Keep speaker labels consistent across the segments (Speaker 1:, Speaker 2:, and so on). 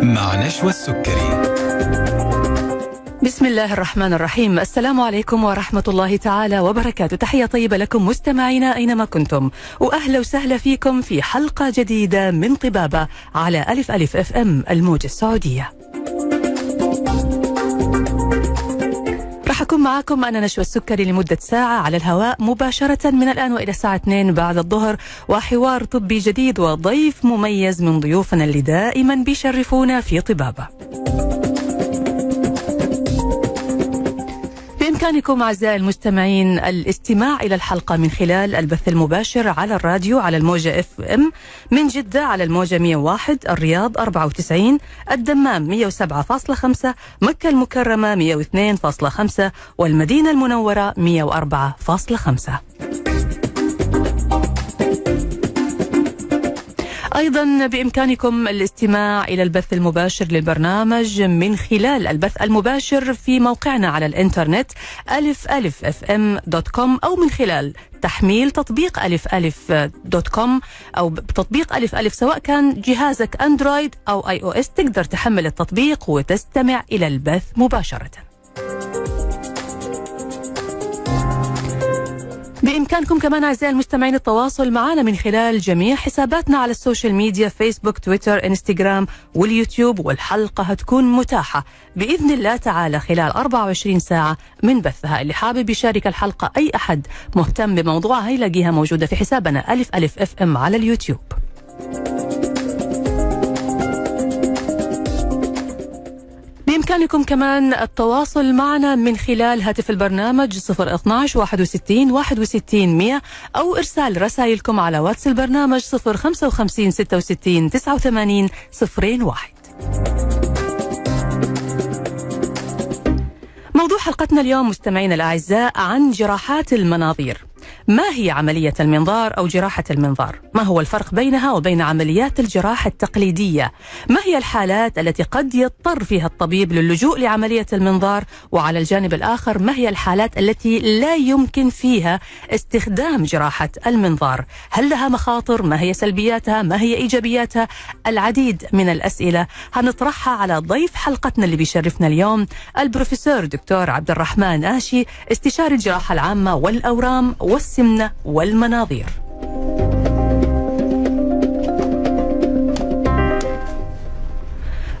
Speaker 1: العيش والسكري
Speaker 2: بسم الله الرحمن الرحيم السلام عليكم ورحمة الله تعالى وبركاته تحية طيبة لكم مستمعينا أينما كنتم وأهلا وسهلا فيكم في حلقة جديدة من طبابة على ألف ألف أف أم الموجة السعودية راح أكون معاكم أنا نشوى السكري لمدة ساعة على الهواء مباشرة من الآن وإلى الساعة 2 بعد الظهر وحوار طبي جديد وضيف مميز من ضيوفنا اللي دائما بيشرفونا في طبابة بإمكانكم أعزائي المستمعين الاستماع إلى الحلقة من خلال البث المباشر على الراديو على الموجة اف ام من جدة على الموجة 101 الرياض 94 الدمام 107.5 مكة المكرمة 102.5 والمدينة المنورة 104.5 أيضا بإمكانكم الاستماع إلى البث المباشر للبرنامج من خلال البث المباشر في موقعنا على الإنترنت ألف ألف أف أم دوت كوم أو من خلال تحميل تطبيق ألف ألف دوت كوم أو تطبيق ألف ألف سواء كان جهازك أندرويد أو آي أو إس تقدر تحمل التطبيق وتستمع إلى البث مباشرةً بإمكانكم كمان أعزائي المستمعين التواصل معنا من خلال جميع حساباتنا على السوشيال ميديا فيسبوك تويتر انستغرام واليوتيوب والحلقة هتكون متاحة بإذن الله تعالى خلال 24 ساعة من بثها اللي حابب يشارك الحلقة أي أحد مهتم بموضوعها يلاقيها موجودة في حسابنا ألف ألف أف أم على اليوتيوب بإمكانكم كمان التواصل معنا من خلال هاتف البرنامج 012 61 61 100 أو إرسال رسائلكم على واتس البرنامج 055 66 89 01 موضوع حلقتنا اليوم مستمعينا الأعزاء عن جراحات المناظير ما هي عملية المنظار أو جراحة المنظار؟ ما هو الفرق بينها وبين عمليات الجراحة التقليدية؟ ما هي الحالات التي قد يضطر فيها الطبيب للجوء لعملية المنظار؟ وعلى الجانب الآخر ما هي الحالات التي لا يمكن فيها استخدام جراحة المنظار؟ هل لها مخاطر؟ ما هي سلبياتها؟ ما هي إيجابياتها؟ العديد من الأسئلة هنطرحها على ضيف حلقتنا اللي بيشرفنا اليوم البروفيسور دكتور عبد الرحمن آشي استشاري الجراحة العامة والأورام والسمنة والمناظير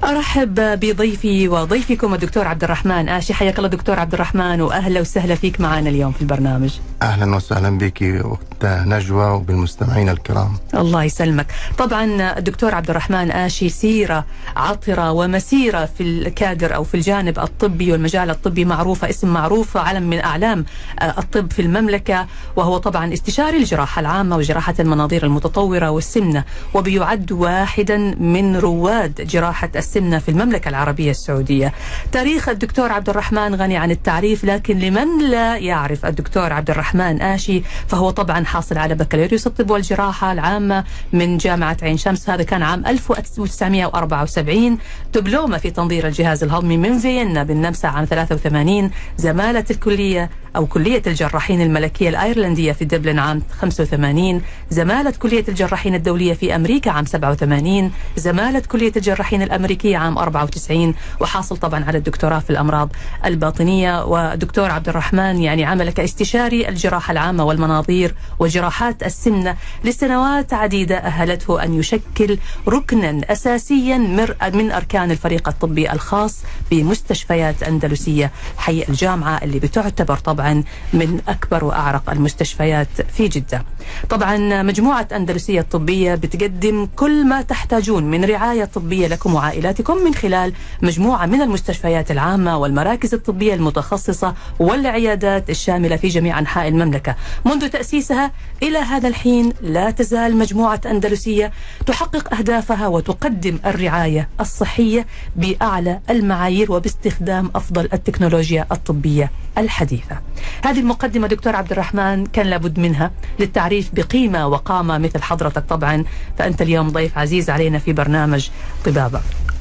Speaker 2: ارحب بضيفي وضيفكم الدكتور عبد الرحمن اشي حياك الله دكتور عبد الرحمن واهلا وسهلا فيك معنا اليوم في البرنامج
Speaker 3: اهلا وسهلا بك وقت نجوى وبالمستمعين الكرام
Speaker 2: الله يسلمك طبعا الدكتور عبد الرحمن آشي سيرة عطرة ومسيرة في الكادر أو في الجانب الطبي والمجال الطبي معروفة اسم معروف علم من أعلام آه، الطب في المملكة وهو طبعا استشاري الجراحة العامة وجراحة المناظير المتطورة والسمنة وبيعد واحدا من رواد جراحة السمنة في المملكة العربية السعودية تاريخ الدكتور عبد الرحمن غني عن التعريف لكن لمن لا يعرف الدكتور عبد الرحمن آشي فهو طبعا حاصل على بكالوريوس الطب والجراحة العامة من جامعة عين شمس هذا كان عام 1974 دبلومة في تنظير الجهاز الهضمي من فيينا بالنمسا عام 83 زمالة الكلية أو كلية الجراحين الملكية الأيرلندية في دبلن عام 85 زمالة كلية الجراحين الدولية في أمريكا عام 87 زمالة كلية الجراحين الأمريكية عام 94 وحاصل طبعا على الدكتوراه في الأمراض الباطنية ودكتور عبد الرحمن يعني عمل كاستشاري الجراحة العامة والمناظير وجراحات السمنة لسنوات عديدة أهلته أن يشكل ركنا أساسيا مر- من أركان الفريق الطبي الخاص بمستشفيات أندلسية حي الجامعة اللي بتعتبر طبعا من أكبر وأعرق المستشفيات في جدة طبعا مجموعة أندلسية الطبية بتقدم كل ما تحتاجون من رعاية طبية لكم وعائلاتكم من خلال مجموعة من المستشفيات العامة والمراكز الطبية المتخصصة والعيادات الشاملة في جميع أنحاء المملكة منذ تأسيسها إلى هذا الحين لا تزال مجموعة أندلسية تحقق أهدافها وتقدم الرعاية الصحية بأعلى المعايير وباستخدام أفضل التكنولوجيا الطبية الحديثة هذه المقدمة دكتور عبد الرحمن كان لابد منها للتعريف بقيمة وقامة مثل حضرتك طبعا فأنت اليوم ضيف عزيز علينا في برنامج طبابة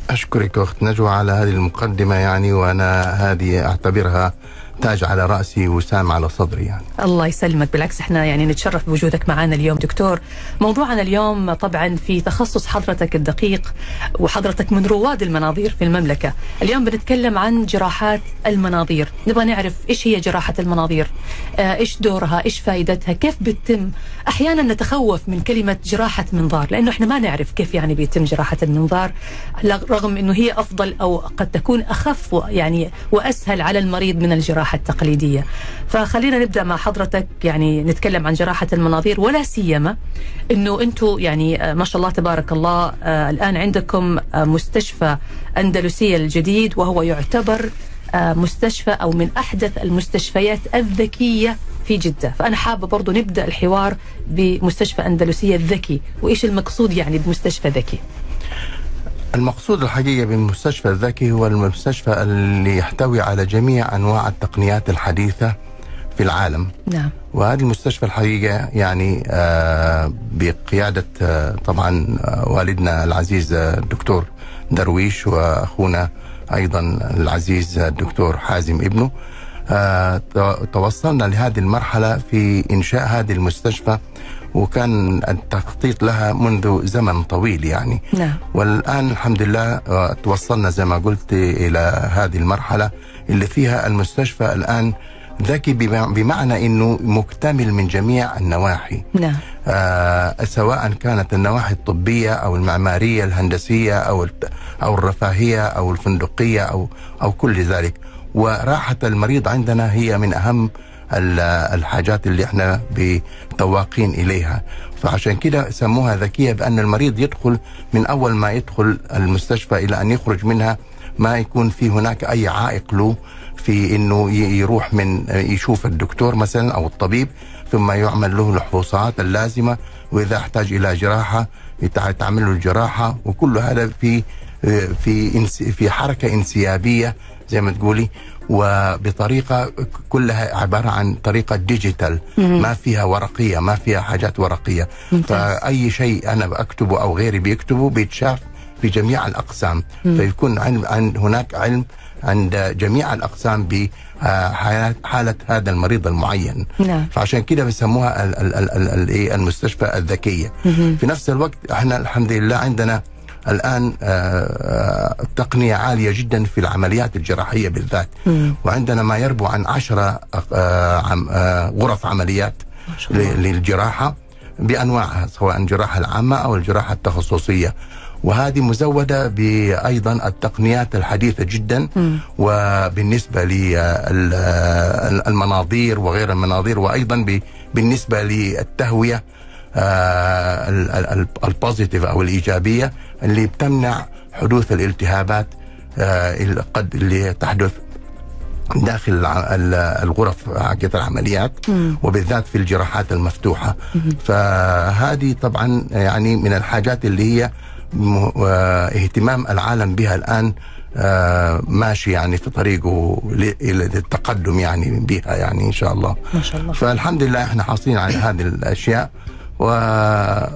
Speaker 3: اشكرك اخت نجوى على هذه المقدمه يعني وانا هذه اعتبرها تاج على رأسي وسام على صدري يعني
Speaker 2: الله يسلمك بالعكس احنا يعني نتشرف بوجودك معنا اليوم دكتور موضوعنا اليوم طبعا في تخصص حضرتك الدقيق وحضرتك من رواد المناظير في المملكة اليوم بنتكلم عن جراحات المناظير نبغى نعرف ايش هي جراحة المناظير آه، ايش دورها ايش فائدتها كيف بتتم احيانا نتخوف من كلمة جراحة منظار لانه احنا ما نعرف كيف يعني بيتم جراحة المنظار رغم انه هي افضل او قد تكون اخف و- يعني واسهل على المريض من الجراحة التقليدية فخلينا نبدا مع حضرتك يعني نتكلم عن جراحه المناظير ولا سيما انه انتم يعني آه، ما شاء الله تبارك الله آه، الان عندكم آه، مستشفى اندلسيه الجديد وهو يعتبر آه، مستشفى او من احدث المستشفيات الذكيه في جده، فانا حابه برضو نبدا الحوار بمستشفى اندلسيه الذكي، وايش المقصود يعني بمستشفى ذكي؟
Speaker 3: المقصود الحقيقي بالمستشفى الذكي هو المستشفى اللي يحتوي على جميع أنواع التقنيات الحديثة في العالم
Speaker 2: نعم،
Speaker 3: وهذه المستشفى الحقيقة يعني آه، بقيادة آه، طبعا آه، والدنا العزيز آه، الدكتور درويش وأخونا أيضا العزيز آه، الدكتور حازم ابنه آه، تو- توصلنا لهذه المرحلة في إنشاء هذه المستشفى وكان التخطيط لها منذ زمن طويل يعني
Speaker 2: نعم.
Speaker 3: والآن الحمد لله آه، توصلنا زي ما قلت إلى هذه المرحلة اللي فيها المستشفى الآن ذكي بم- بمعنى أنه مكتمل من جميع النواحي
Speaker 2: نعم،
Speaker 3: آه، سواء كانت النواحي الطبية أو المعمارية الهندسية أو الت- أو الرفاهية أو الفندقية أو أو كل ذلك وراحة المريض عندنا هي من أهم ال- الحاجات اللي احنا بتواقين إليها فعشان كده سموها ذكية بأن المريض يدخل من أول ما يدخل المستشفى إلى أن يخرج منها ما يكون في هناك أي عائق له في انه ي- يروح من يشوف الدكتور مثلا او الطبيب ثم يعمل له الفحوصات اللازمه واذا احتاج الى جراحه يتع- تعمل له الجراحه وكل هذا في في انس- في حركه انسيابيه زي ما تقولي وبطريقه كلها عباره عن طريقه ديجيتال ما فيها ورقيه ما فيها حاجات ورقيه
Speaker 2: ممتاز.
Speaker 3: فاي شيء انا بكتبه او غيري بيكتبه بيتشاف في جميع الاقسام فيكون علم عن هناك علم عند جميع الاقسام بحاله حاله هذا المريض المعين
Speaker 2: نعم.
Speaker 3: فعشان كده بيسموها ال- ال- ال- ال- ال- إيه المستشفى الذكيه في نفس الوقت احنا الحمد لله عندنا الان آه، آه، تقنيه عاليه جدا في العمليات الجراحيه بالذات وعندنا ما يربو عن عشرة آه، عم- آه، غرف عمليات
Speaker 2: ما شاء الله.
Speaker 3: ل- للجراحة بأنواعها سواء الجراحة العامة أو الجراحة التخصصية وهذه مزودة بأيضا التقنيات الحديثة جدا وبالنسبة للمناظير وغير المناظير وأيضا ب- بالنسبة للتهوية آه، ال- ال- ال- البوزيتيف أو الإيجابية اللي بتمنع حدوث الالتهابات آه، اللي قد اللي تحدث داخل الع- ال- الغرف حقت العمليات وبالذات في الجراحات المفتوحه فهذه طبعا يعني من الحاجات اللي هي م- آه، اهتمام العالم بها الان آه، ماشي يعني في طريقه ل- إلى للتقدم يعني بها يعني ان شاء الله
Speaker 2: ما شاء الله.
Speaker 3: فالحمد لله احنا حاصلين على هذه الاشياء و...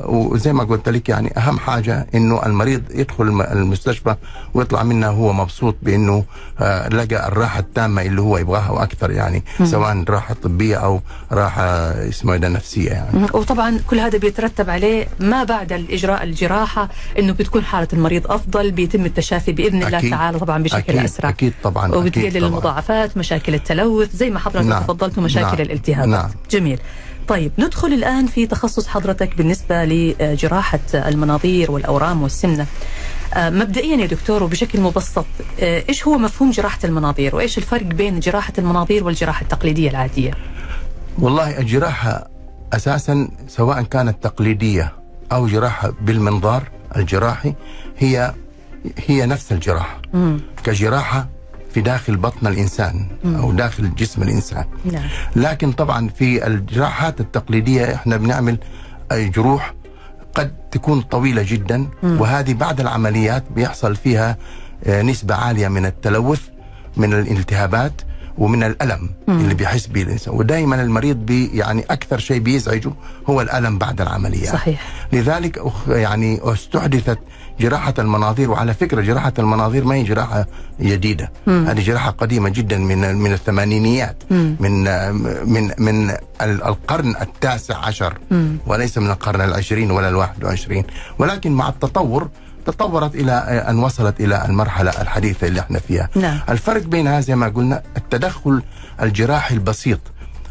Speaker 3: وزي ما قلت لك يعني اهم حاجه انه المريض يدخل الم- المستشفى ويطلع منها هو مبسوط بانه آه، لقى الراحه التامه اللي هو يبغاها واكثر يعني سواء راحه طبيه او راحه اسمه إيه ده نفسيه يعني
Speaker 2: مهم. وطبعا كل هذا بيترتب عليه ما بعد الاجراء الجراحه انه بتكون حاله المريض افضل بيتم التشافي باذن الله
Speaker 3: أكيد.
Speaker 2: تعالى طبعا بشكل
Speaker 3: أكيد.
Speaker 2: اسرع
Speaker 3: أكيد طبعاً. أكيد
Speaker 2: وبتقلل
Speaker 3: طبعاً.
Speaker 2: المضاعفات مشاكل التلوث زي ما حضرتك
Speaker 3: نعم.
Speaker 2: تفضلت مشاكل
Speaker 3: نعم.
Speaker 2: الالتهابات
Speaker 3: نعم.
Speaker 2: جميل طيب ندخل الان في تخصص حضرتك بالنسبه لجراحه المناظير والاورام والسمنه آه، مبدئيا يا دكتور وبشكل مبسط آه، ايش هو مفهوم جراحه المناظير وايش الفرق بين جراحه المناظير والجراحه التقليديه العاديه
Speaker 3: والله الجراحة أساسا سواء كانت تقليدية أو جراحة بالمنظار الجراحي هي هي نفس الجراحة كجراحة في داخل بطن الإنسان أو داخل جسم الإنسان
Speaker 2: نعم.
Speaker 3: لكن طبعا في الجراحات التقليدية إحنا بنعمل جروح قد تكون طويلة جدا وهذه بعد العمليات بيحصل فيها آه، نسبة عالية من التلوث من الالتهابات ومن الالم
Speaker 2: مم.
Speaker 3: اللي بيحس به الانسان ودائما المريض بي يعني اكثر شيء بيزعجه هو الالم بعد العمليه
Speaker 2: صحيح
Speaker 3: لذلك أخ- يعني استحدثت جراحة المناظير وعلى فكرة جراحة المناظير ما هي جراحة جديدة
Speaker 2: مم.
Speaker 3: هذه جراحة قديمة جدا من من الثمانينيات
Speaker 2: مم.
Speaker 3: من من من ال- القرن التاسع عشر
Speaker 2: مم.
Speaker 3: وليس من القرن العشرين ولا الواحد وعشرين ولكن مع التطور تطورت إلى أن وصلت إلى المرحلة الحديثة اللي احنا فيها
Speaker 2: نعم
Speaker 3: الفرق بينها زي ما قلنا التدخل الجراحي البسيط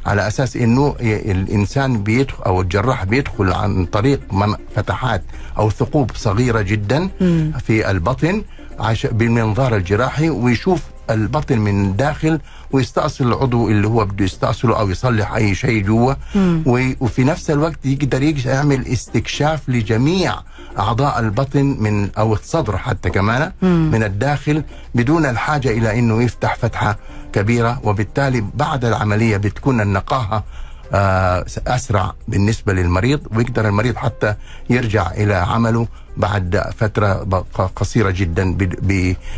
Speaker 3: على اساس انه ي- الانسان بيدخل او الجراح بيدخل عن طريق من- فتحات او ثقوب صغيره جدا
Speaker 2: مم.
Speaker 3: في البطن عش- بالمنظار الجراحي ويشوف البطن من داخل ويستأصل العضو اللي هو بده يستأصله او يصلح اي شيء جوا
Speaker 2: مم.
Speaker 3: وي- وفي نفس الوقت يقدر يج- يعمل استكشاف لجميع اعضاء البطن من او الصدر حتى كمان
Speaker 2: مم.
Speaker 3: من الداخل بدون الحاجه الى انه يفتح فتحه كبيره وبالتالي بعد العمليه بتكون النقاهه آه، اسرع بالنسبه للمريض ويقدر المريض حتى يرجع الى عمله بعد فتره ب- ق- قصيره جدا ب-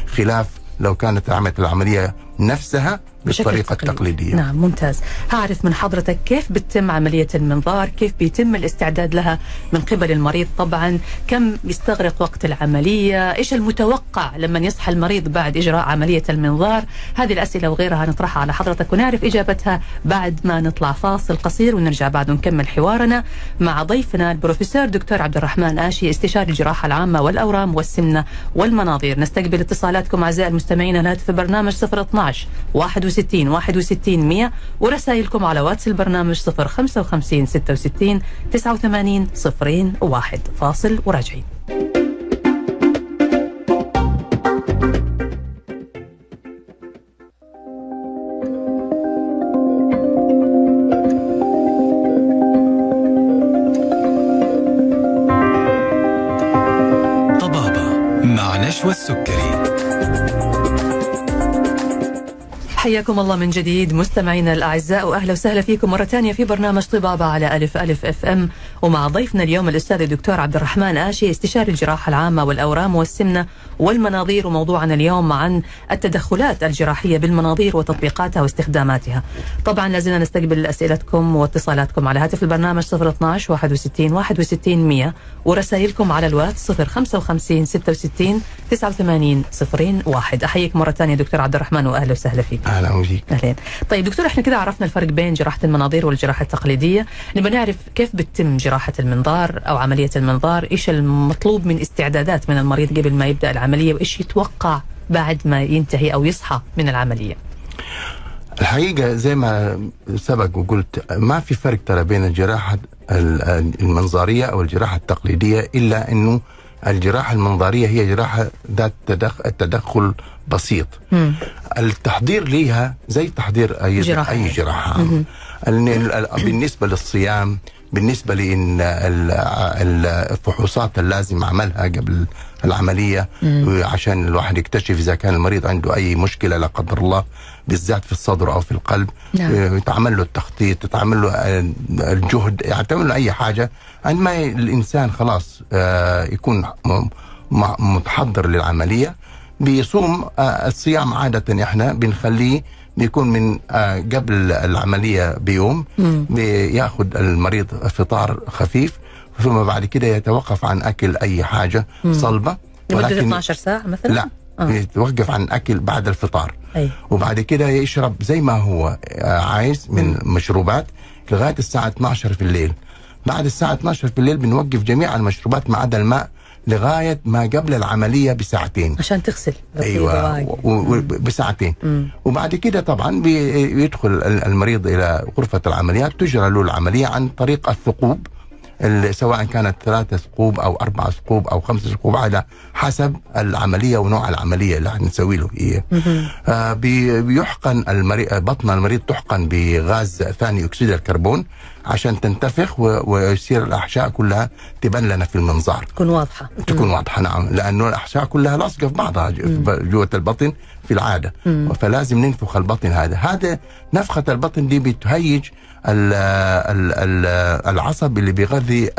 Speaker 3: بخلاف لو كانت عملت العمليه نفسها
Speaker 2: بشكل
Speaker 3: بالطريقه
Speaker 2: تقليدي.
Speaker 3: التقليديه
Speaker 2: نعم ممتاز هعرف من حضرتك كيف بتتم عملية المنظار كيف بيتم الاستعداد لها من قبل المريض طبعا كم بيستغرق وقت العملية إيش المتوقع لما يصحى المريض بعد إجراء عملية المنظار هذه الأسئلة وغيرها نطرحها على حضرتك ونعرف إجابتها بعد ما نطلع فاصل قصير ونرجع بعد نكمل حوارنا مع ضيفنا البروفيسور دكتور عبد الرحمن آشي استشاري الجراحة العامة والأورام والسمنة والمناظير نستقبل اتصالاتكم أعزائي المستمعين الهاتف في برنامج 012 61 61 100 ورسائلكم على واتس البرنامج 055 66 89 01 فاصل وراجعين
Speaker 1: طبابة مع نشوى السكري
Speaker 2: حياكم الله من جديد مستمعينا الاعزاء واهلا وسهلا فيكم مره ثانيه في برنامج طبابه على الف الف اف ام ومع ضيفنا اليوم الاستاذ الدكتور عبد الرحمن اشي استشاري الجراحه العامه والاورام والسمنه والمناظير وموضوعنا اليوم عن التدخلات الجراحيه بالمناظير وتطبيقاتها واستخداماتها. طبعا لازلنا نستقبل اسئلتكم واتصالاتكم على هاتف البرنامج 012 61 61 100 ورسائلكم على الواتس 055 66 89 01 احييك مره ثانيه دكتور عبد الرحمن واهلا وسهلا فيك.
Speaker 3: اهلا وسهلا
Speaker 2: اهلين طيب دكتور احنا كده عرفنا الفرق بين جراحه المناظير والجراحه التقليديه نبغى نعرف كيف بتتم جراحه المنظار او عمليه المنظار ايش المطلوب من استعدادات من المريض قبل ما يبدا العمليه وايش يتوقع بعد ما ينتهي او يصحى من العمليه
Speaker 3: الحقيقة زي ما سبق وقلت ما في فرق ترى بين الجراحة ال- المنظارية أو الجراحة التقليدية إلا أنه الجراحة المنظارية هي جراحة ذات تدخ- تدخل بسيط
Speaker 2: مم.
Speaker 3: التحضير ليها زي تحضير أي
Speaker 2: جراحة.
Speaker 3: جراحة, أي جراحة عامة. ال- ال- بالنسبة للصيام بالنسبة لأن ال- ال- الفحوصات اللي لازم عملها قبل العملية عشان الواحد يكتشف إذا كان المريض عنده أي مشكلة لا قدر الله بالذات في الصدر أو في القلب
Speaker 2: نعم.
Speaker 3: آه، يتعمل له التخطيط يتعمل له آه، الجهد يعني تعمل له أي حاجة عن ما ي- الإنسان خلاص آه، يكون م- م- متحضر للعملية بيصوم آه، الصيام عادة إحنا بنخليه بيكون من آه، قبل العملية بيوم
Speaker 2: مم.
Speaker 3: بياخد المريض فطار خفيف ثم بعد كده يتوقف عن أكل أي حاجة
Speaker 2: مم.
Speaker 3: صلبة
Speaker 2: لمده 12 ساعه مثلا
Speaker 3: لا إيه.
Speaker 2: آه.
Speaker 3: يتوقف عن أكل بعد الفطار
Speaker 2: اي
Speaker 3: وبعد كده يشرب زي ما هو آه، عايز من مشروبات لغايه الساعه 12 في الليل بعد الساعه 12 في الليل بنوقف جميع المشروبات ما عدا الماء لغايه ما قبل العمليه بساعتين
Speaker 2: عشان تغسل بتصير
Speaker 3: ايوه
Speaker 2: دواعي.
Speaker 3: و- و- بساعتين
Speaker 2: مم.
Speaker 3: وبعد كده طبعا بيدخل المريض الى غرفه العمليات تجرى له العمليه عن طريق الثقوب ال- سواء كانت ثلاثة ثقوب أو أربعة ثقوب أو خمسة ثقوب على حسب العملية ونوع العملية اللي هنسوي له هي
Speaker 2: مهم.
Speaker 3: آه، بي- بيحقن المريض بطن المريض تحقن بغاز ثاني أكسيد الكربون عشان تنتفخ و- ويصير الأحشاء كلها تبان لنا في المنظار
Speaker 2: تكون واضحه
Speaker 3: تكون واضحه نعم لانه الاحشاء كلها لاصقه في بعضها ج- جوه البطن في العاده فلازم ننفخ البطن هذا هذا نفخه البطن دي بتهيج ال ال ال العصب اللي بيغذي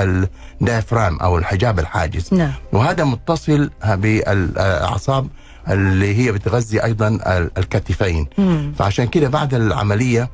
Speaker 3: الدايفرام او الحجاب الحاجز
Speaker 2: نعم
Speaker 3: وهذا متصل بالاعصاب اللي هي بتغذي ايضا ال- الكتفين
Speaker 2: مم.
Speaker 3: فعشان كده بعد العمليه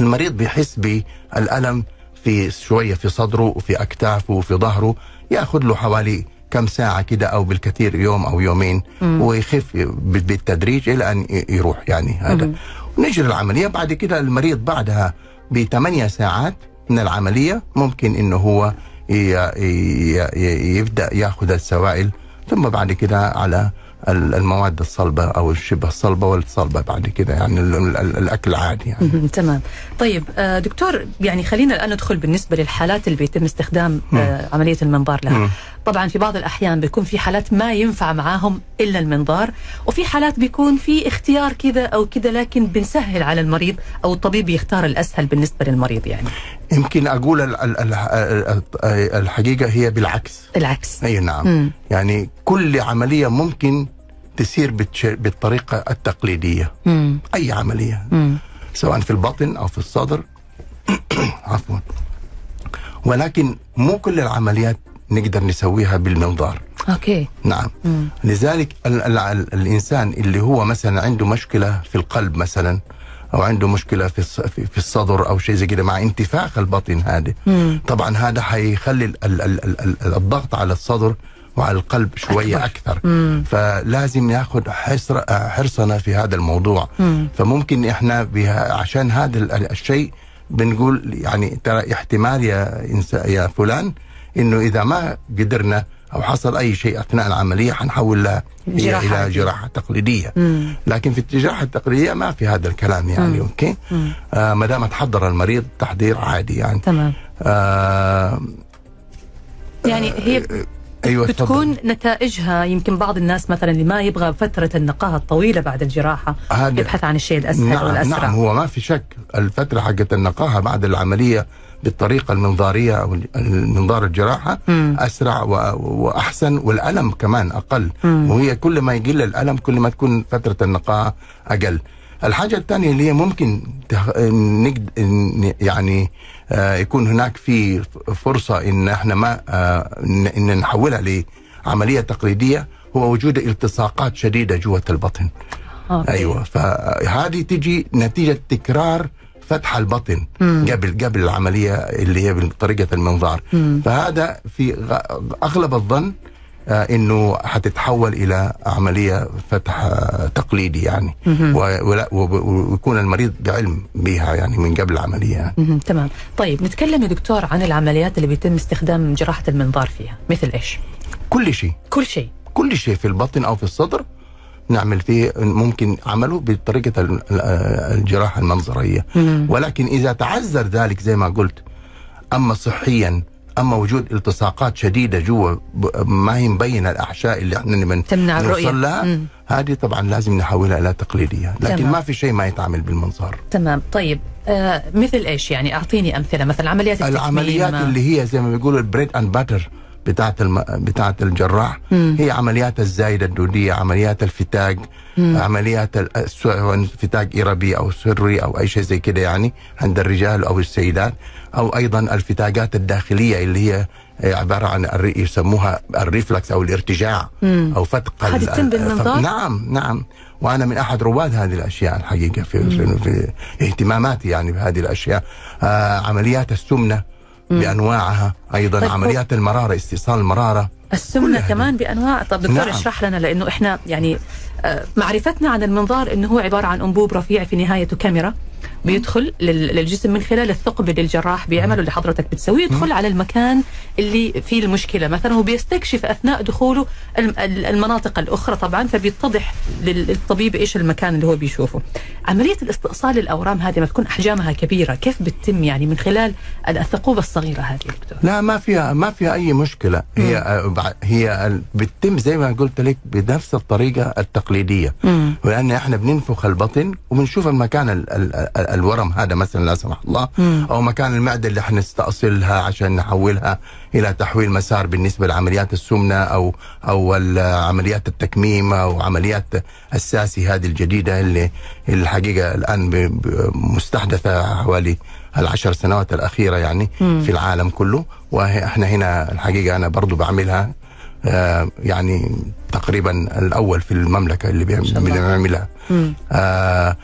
Speaker 3: المريض بيحس بالالم في شويه في صدره وفي اكتافه وفي ظهره ياخذ له حوالي كم ساعه كده او بالكثير يوم او يومين ويخف ب- بالتدريج الى ان ي- يروح يعني هذا ونجري العمليه بعد كده المريض بعدها بثمانية ساعات من العمليه ممكن انه هو ي- ي- ي- يبدا ياخذ السوائل ثم بعد كده على ال- المواد الصلبه او الشبه الصلبه والصلبه بعد كده يعني ال- ال- ال- الاكل عادي يعني
Speaker 2: مهم. تمام طيب آه، دكتور يعني خلينا الان ندخل بالنسبه للحالات اللي بيتم استخدام آه، عمليه المنظار لها طبعا في بعض الاحيان بيكون في حالات ما ينفع معاهم الا المنظار وفي حالات بيكون في اختيار كذا او كذا لكن بنسهل على المريض او الطبيب يختار الاسهل بالنسبه للمريض يعني
Speaker 3: يمكن اقول ال- ال- ال- ال- الحقيقه هي بالعكس
Speaker 2: العكس
Speaker 3: اي نعم
Speaker 2: مم.
Speaker 3: يعني كل عمليه ممكن تسير بالتش- بالطريقه التقليديه
Speaker 2: مم.
Speaker 3: اي عمليه
Speaker 2: مم.
Speaker 3: سواء في البطن او في الصدر عفوا ولكن مو كل العمليات نقدر نسويها بالمنظار
Speaker 2: اوكي
Speaker 3: نعم
Speaker 2: مم.
Speaker 3: لذلك ال ال ال الانسان اللي هو مثلا عنده مشكله في القلب مثلا او عنده مشكله في الص- في في الصدر او شيء زي كده مع انتفاخ البطن هذا
Speaker 2: مم.
Speaker 3: طبعا هذا حيخلي ال ال ال ال ال الضغط على الصدر وعلى القلب شويه اكثر, أكثر. فلازم ناخذ حسر حرصنا في هذا الموضوع
Speaker 2: مم.
Speaker 3: فممكن احنا بها عشان هذا ال- الشيء بنقول يعني ترى احتمال يا إنسا يا فلان انه اذا ما قدرنا او حصل اي شيء اثناء العمليه حنحولها هي
Speaker 2: جراحة
Speaker 3: الى
Speaker 2: عادية.
Speaker 3: جراحه تقليديه
Speaker 2: مم.
Speaker 3: لكن في الجراحه التقليديه ما في هذا الكلام يعني
Speaker 2: مم.
Speaker 3: اوكي
Speaker 2: مم.
Speaker 3: آه ما دام تحضر المريض تحضير عادي يعني
Speaker 2: تمام
Speaker 3: آه
Speaker 2: يعني هي
Speaker 3: ايوه
Speaker 2: بتكون
Speaker 3: تفضل.
Speaker 2: نتائجها يمكن بعض الناس مثلا اللي ما يبغى فتره النقاهه الطويله بعد الجراحه
Speaker 3: هذا-
Speaker 2: يبحث عن الشيء الاسهل
Speaker 3: نعم,
Speaker 2: والاسرع
Speaker 3: نعم هو ما في شك الفتره حقت النقاهه بعد العمليه بالطريقه المنظاريه او المنظار الجراحه
Speaker 2: مم.
Speaker 3: اسرع و- واحسن والالم كمان اقل
Speaker 2: مم.
Speaker 3: وهي كل ما يقل الالم كل ما تكون فتره النقاهه اقل الحاجه الثانيه اللي هي ممكن تخ... نجد... ن- يعني آه يكون هناك في ف- فرصه ان احنا ما آه إن- ان نحولها لعمليه تقليديه هو وجود التصاقات شديده جوه البطن
Speaker 2: أوكي.
Speaker 3: ايوه فهذه تجي نتيجه تكرار فتح البطن
Speaker 2: مم.
Speaker 3: قبل قبل العمليه اللي هي بطريقه المنظار
Speaker 2: مم.
Speaker 3: فهذا في غ- اغلب الظن آه، انه حتتحول الى عمليه فتح آه، تقليدي يعني
Speaker 2: مهم.
Speaker 3: و- ولا- وب- ويكون المريض بعلم بها يعني من قبل العمليه يعني.
Speaker 2: مهم. تمام طيب نتكلم يا دكتور عن العمليات اللي بيتم استخدام جراحه المنظار فيها مثل ايش
Speaker 3: كل شيء
Speaker 2: كل شيء
Speaker 3: كل شيء في البطن او في الصدر نعمل فيه ممكن عمله بطريقه ال- ال- الجراحه المنظريه
Speaker 2: مم.
Speaker 3: ولكن اذا تعذر ذلك زي ما قلت اما صحيا اما وجود التصاقات شديده جوا ب- ما هي مبينه الاحشاء اللي احنا من
Speaker 2: تمنع الرؤية.
Speaker 3: نوصل لها
Speaker 2: مم.
Speaker 3: هذه طبعا لازم نحولها الى تقليديه لكن
Speaker 2: تمام.
Speaker 3: ما في شيء ما يتعامل بالمنظار
Speaker 2: تمام طيب آه مثل ايش يعني اعطيني امثله مثلا عمليات التكميم،
Speaker 3: العمليات
Speaker 2: آه،
Speaker 3: اللي هي زي ما بيقولوا البريد اند باتر بتاعت الم... بتاعت الجراح
Speaker 2: مم.
Speaker 3: هي عمليات الزايده الدوديه عمليات الفتاق
Speaker 2: مم.
Speaker 3: عمليات ال- سواء فتاق اربي او سري او اي شيء زي كده يعني عند الرجال او السيدات او ايضا الفتاقات الداخليه اللي هي عباره عن الري... يسموها الريفلكس او الارتجاع
Speaker 2: مم.
Speaker 3: او فتق
Speaker 2: هذه
Speaker 3: ال-
Speaker 2: تتم
Speaker 3: ال-
Speaker 2: بالمنظار؟
Speaker 3: ف- نعم نعم وانا من احد رواد هذه الاشياء الحقيقه في, في, في اهتماماتي يعني بهذه الاشياء آه عمليات السمنه بانواعها ايضا
Speaker 2: طيب،
Speaker 3: طيب عمليات المراره استئصال المراره
Speaker 2: السمنه
Speaker 3: كلها.
Speaker 2: كمان بانواع طب دكتور نعم.
Speaker 3: نعم.
Speaker 2: اشرح لنا لانه احنا يعني آه، معرفتنا عن المنظار انه هو عباره عن انبوب رفيع في نهايته كاميرا بيدخل لل- للجسم من خلال الثقب اللي الجراح بيعمله اللي حضرتك بتسويه يدخل على المكان اللي فيه المشكله مثلا هو بيستكشف اثناء دخوله الم- ال- المناطق الاخرى طبعا فبيتضح لل- للطبيب ايش المكان اللي هو بيشوفه عمليه الاستئصال الاورام هذه ما تكون احجامها كبيره كيف بتتم يعني من خلال ال- الثقوبه الصغيره هذه يا دكتور
Speaker 3: لا ما فيها ما فيها اي مشكله هي آه، بع- هي ال- بتتم زي ما قلت لك بنفس الطريقه التقليديه
Speaker 2: مم.
Speaker 3: ولان احنا بننفخ البطن وبنشوف المكان ال ال ال الورم هذا مثلا لا سمح الله
Speaker 2: مم.
Speaker 3: او مكان المعده اللي حنستأصلها عشان نحولها الى تحويل مسار بالنسبه لعمليات السمنه او او ال- عمليات التكميم او عمليات الساسي هذه الجديده اللي اللي الحقيقه الان ب- ب- مستحدثه حوالي العشر سنوات الاخيره يعني
Speaker 2: مم.
Speaker 3: في العالم كله واحنا هنا الحقيقه انا برضو بعملها آه، يعني تقريبا الاول في المملكه اللي بيعمل-
Speaker 2: شاء الله.
Speaker 3: بنعملها
Speaker 2: مم.
Speaker 3: آه،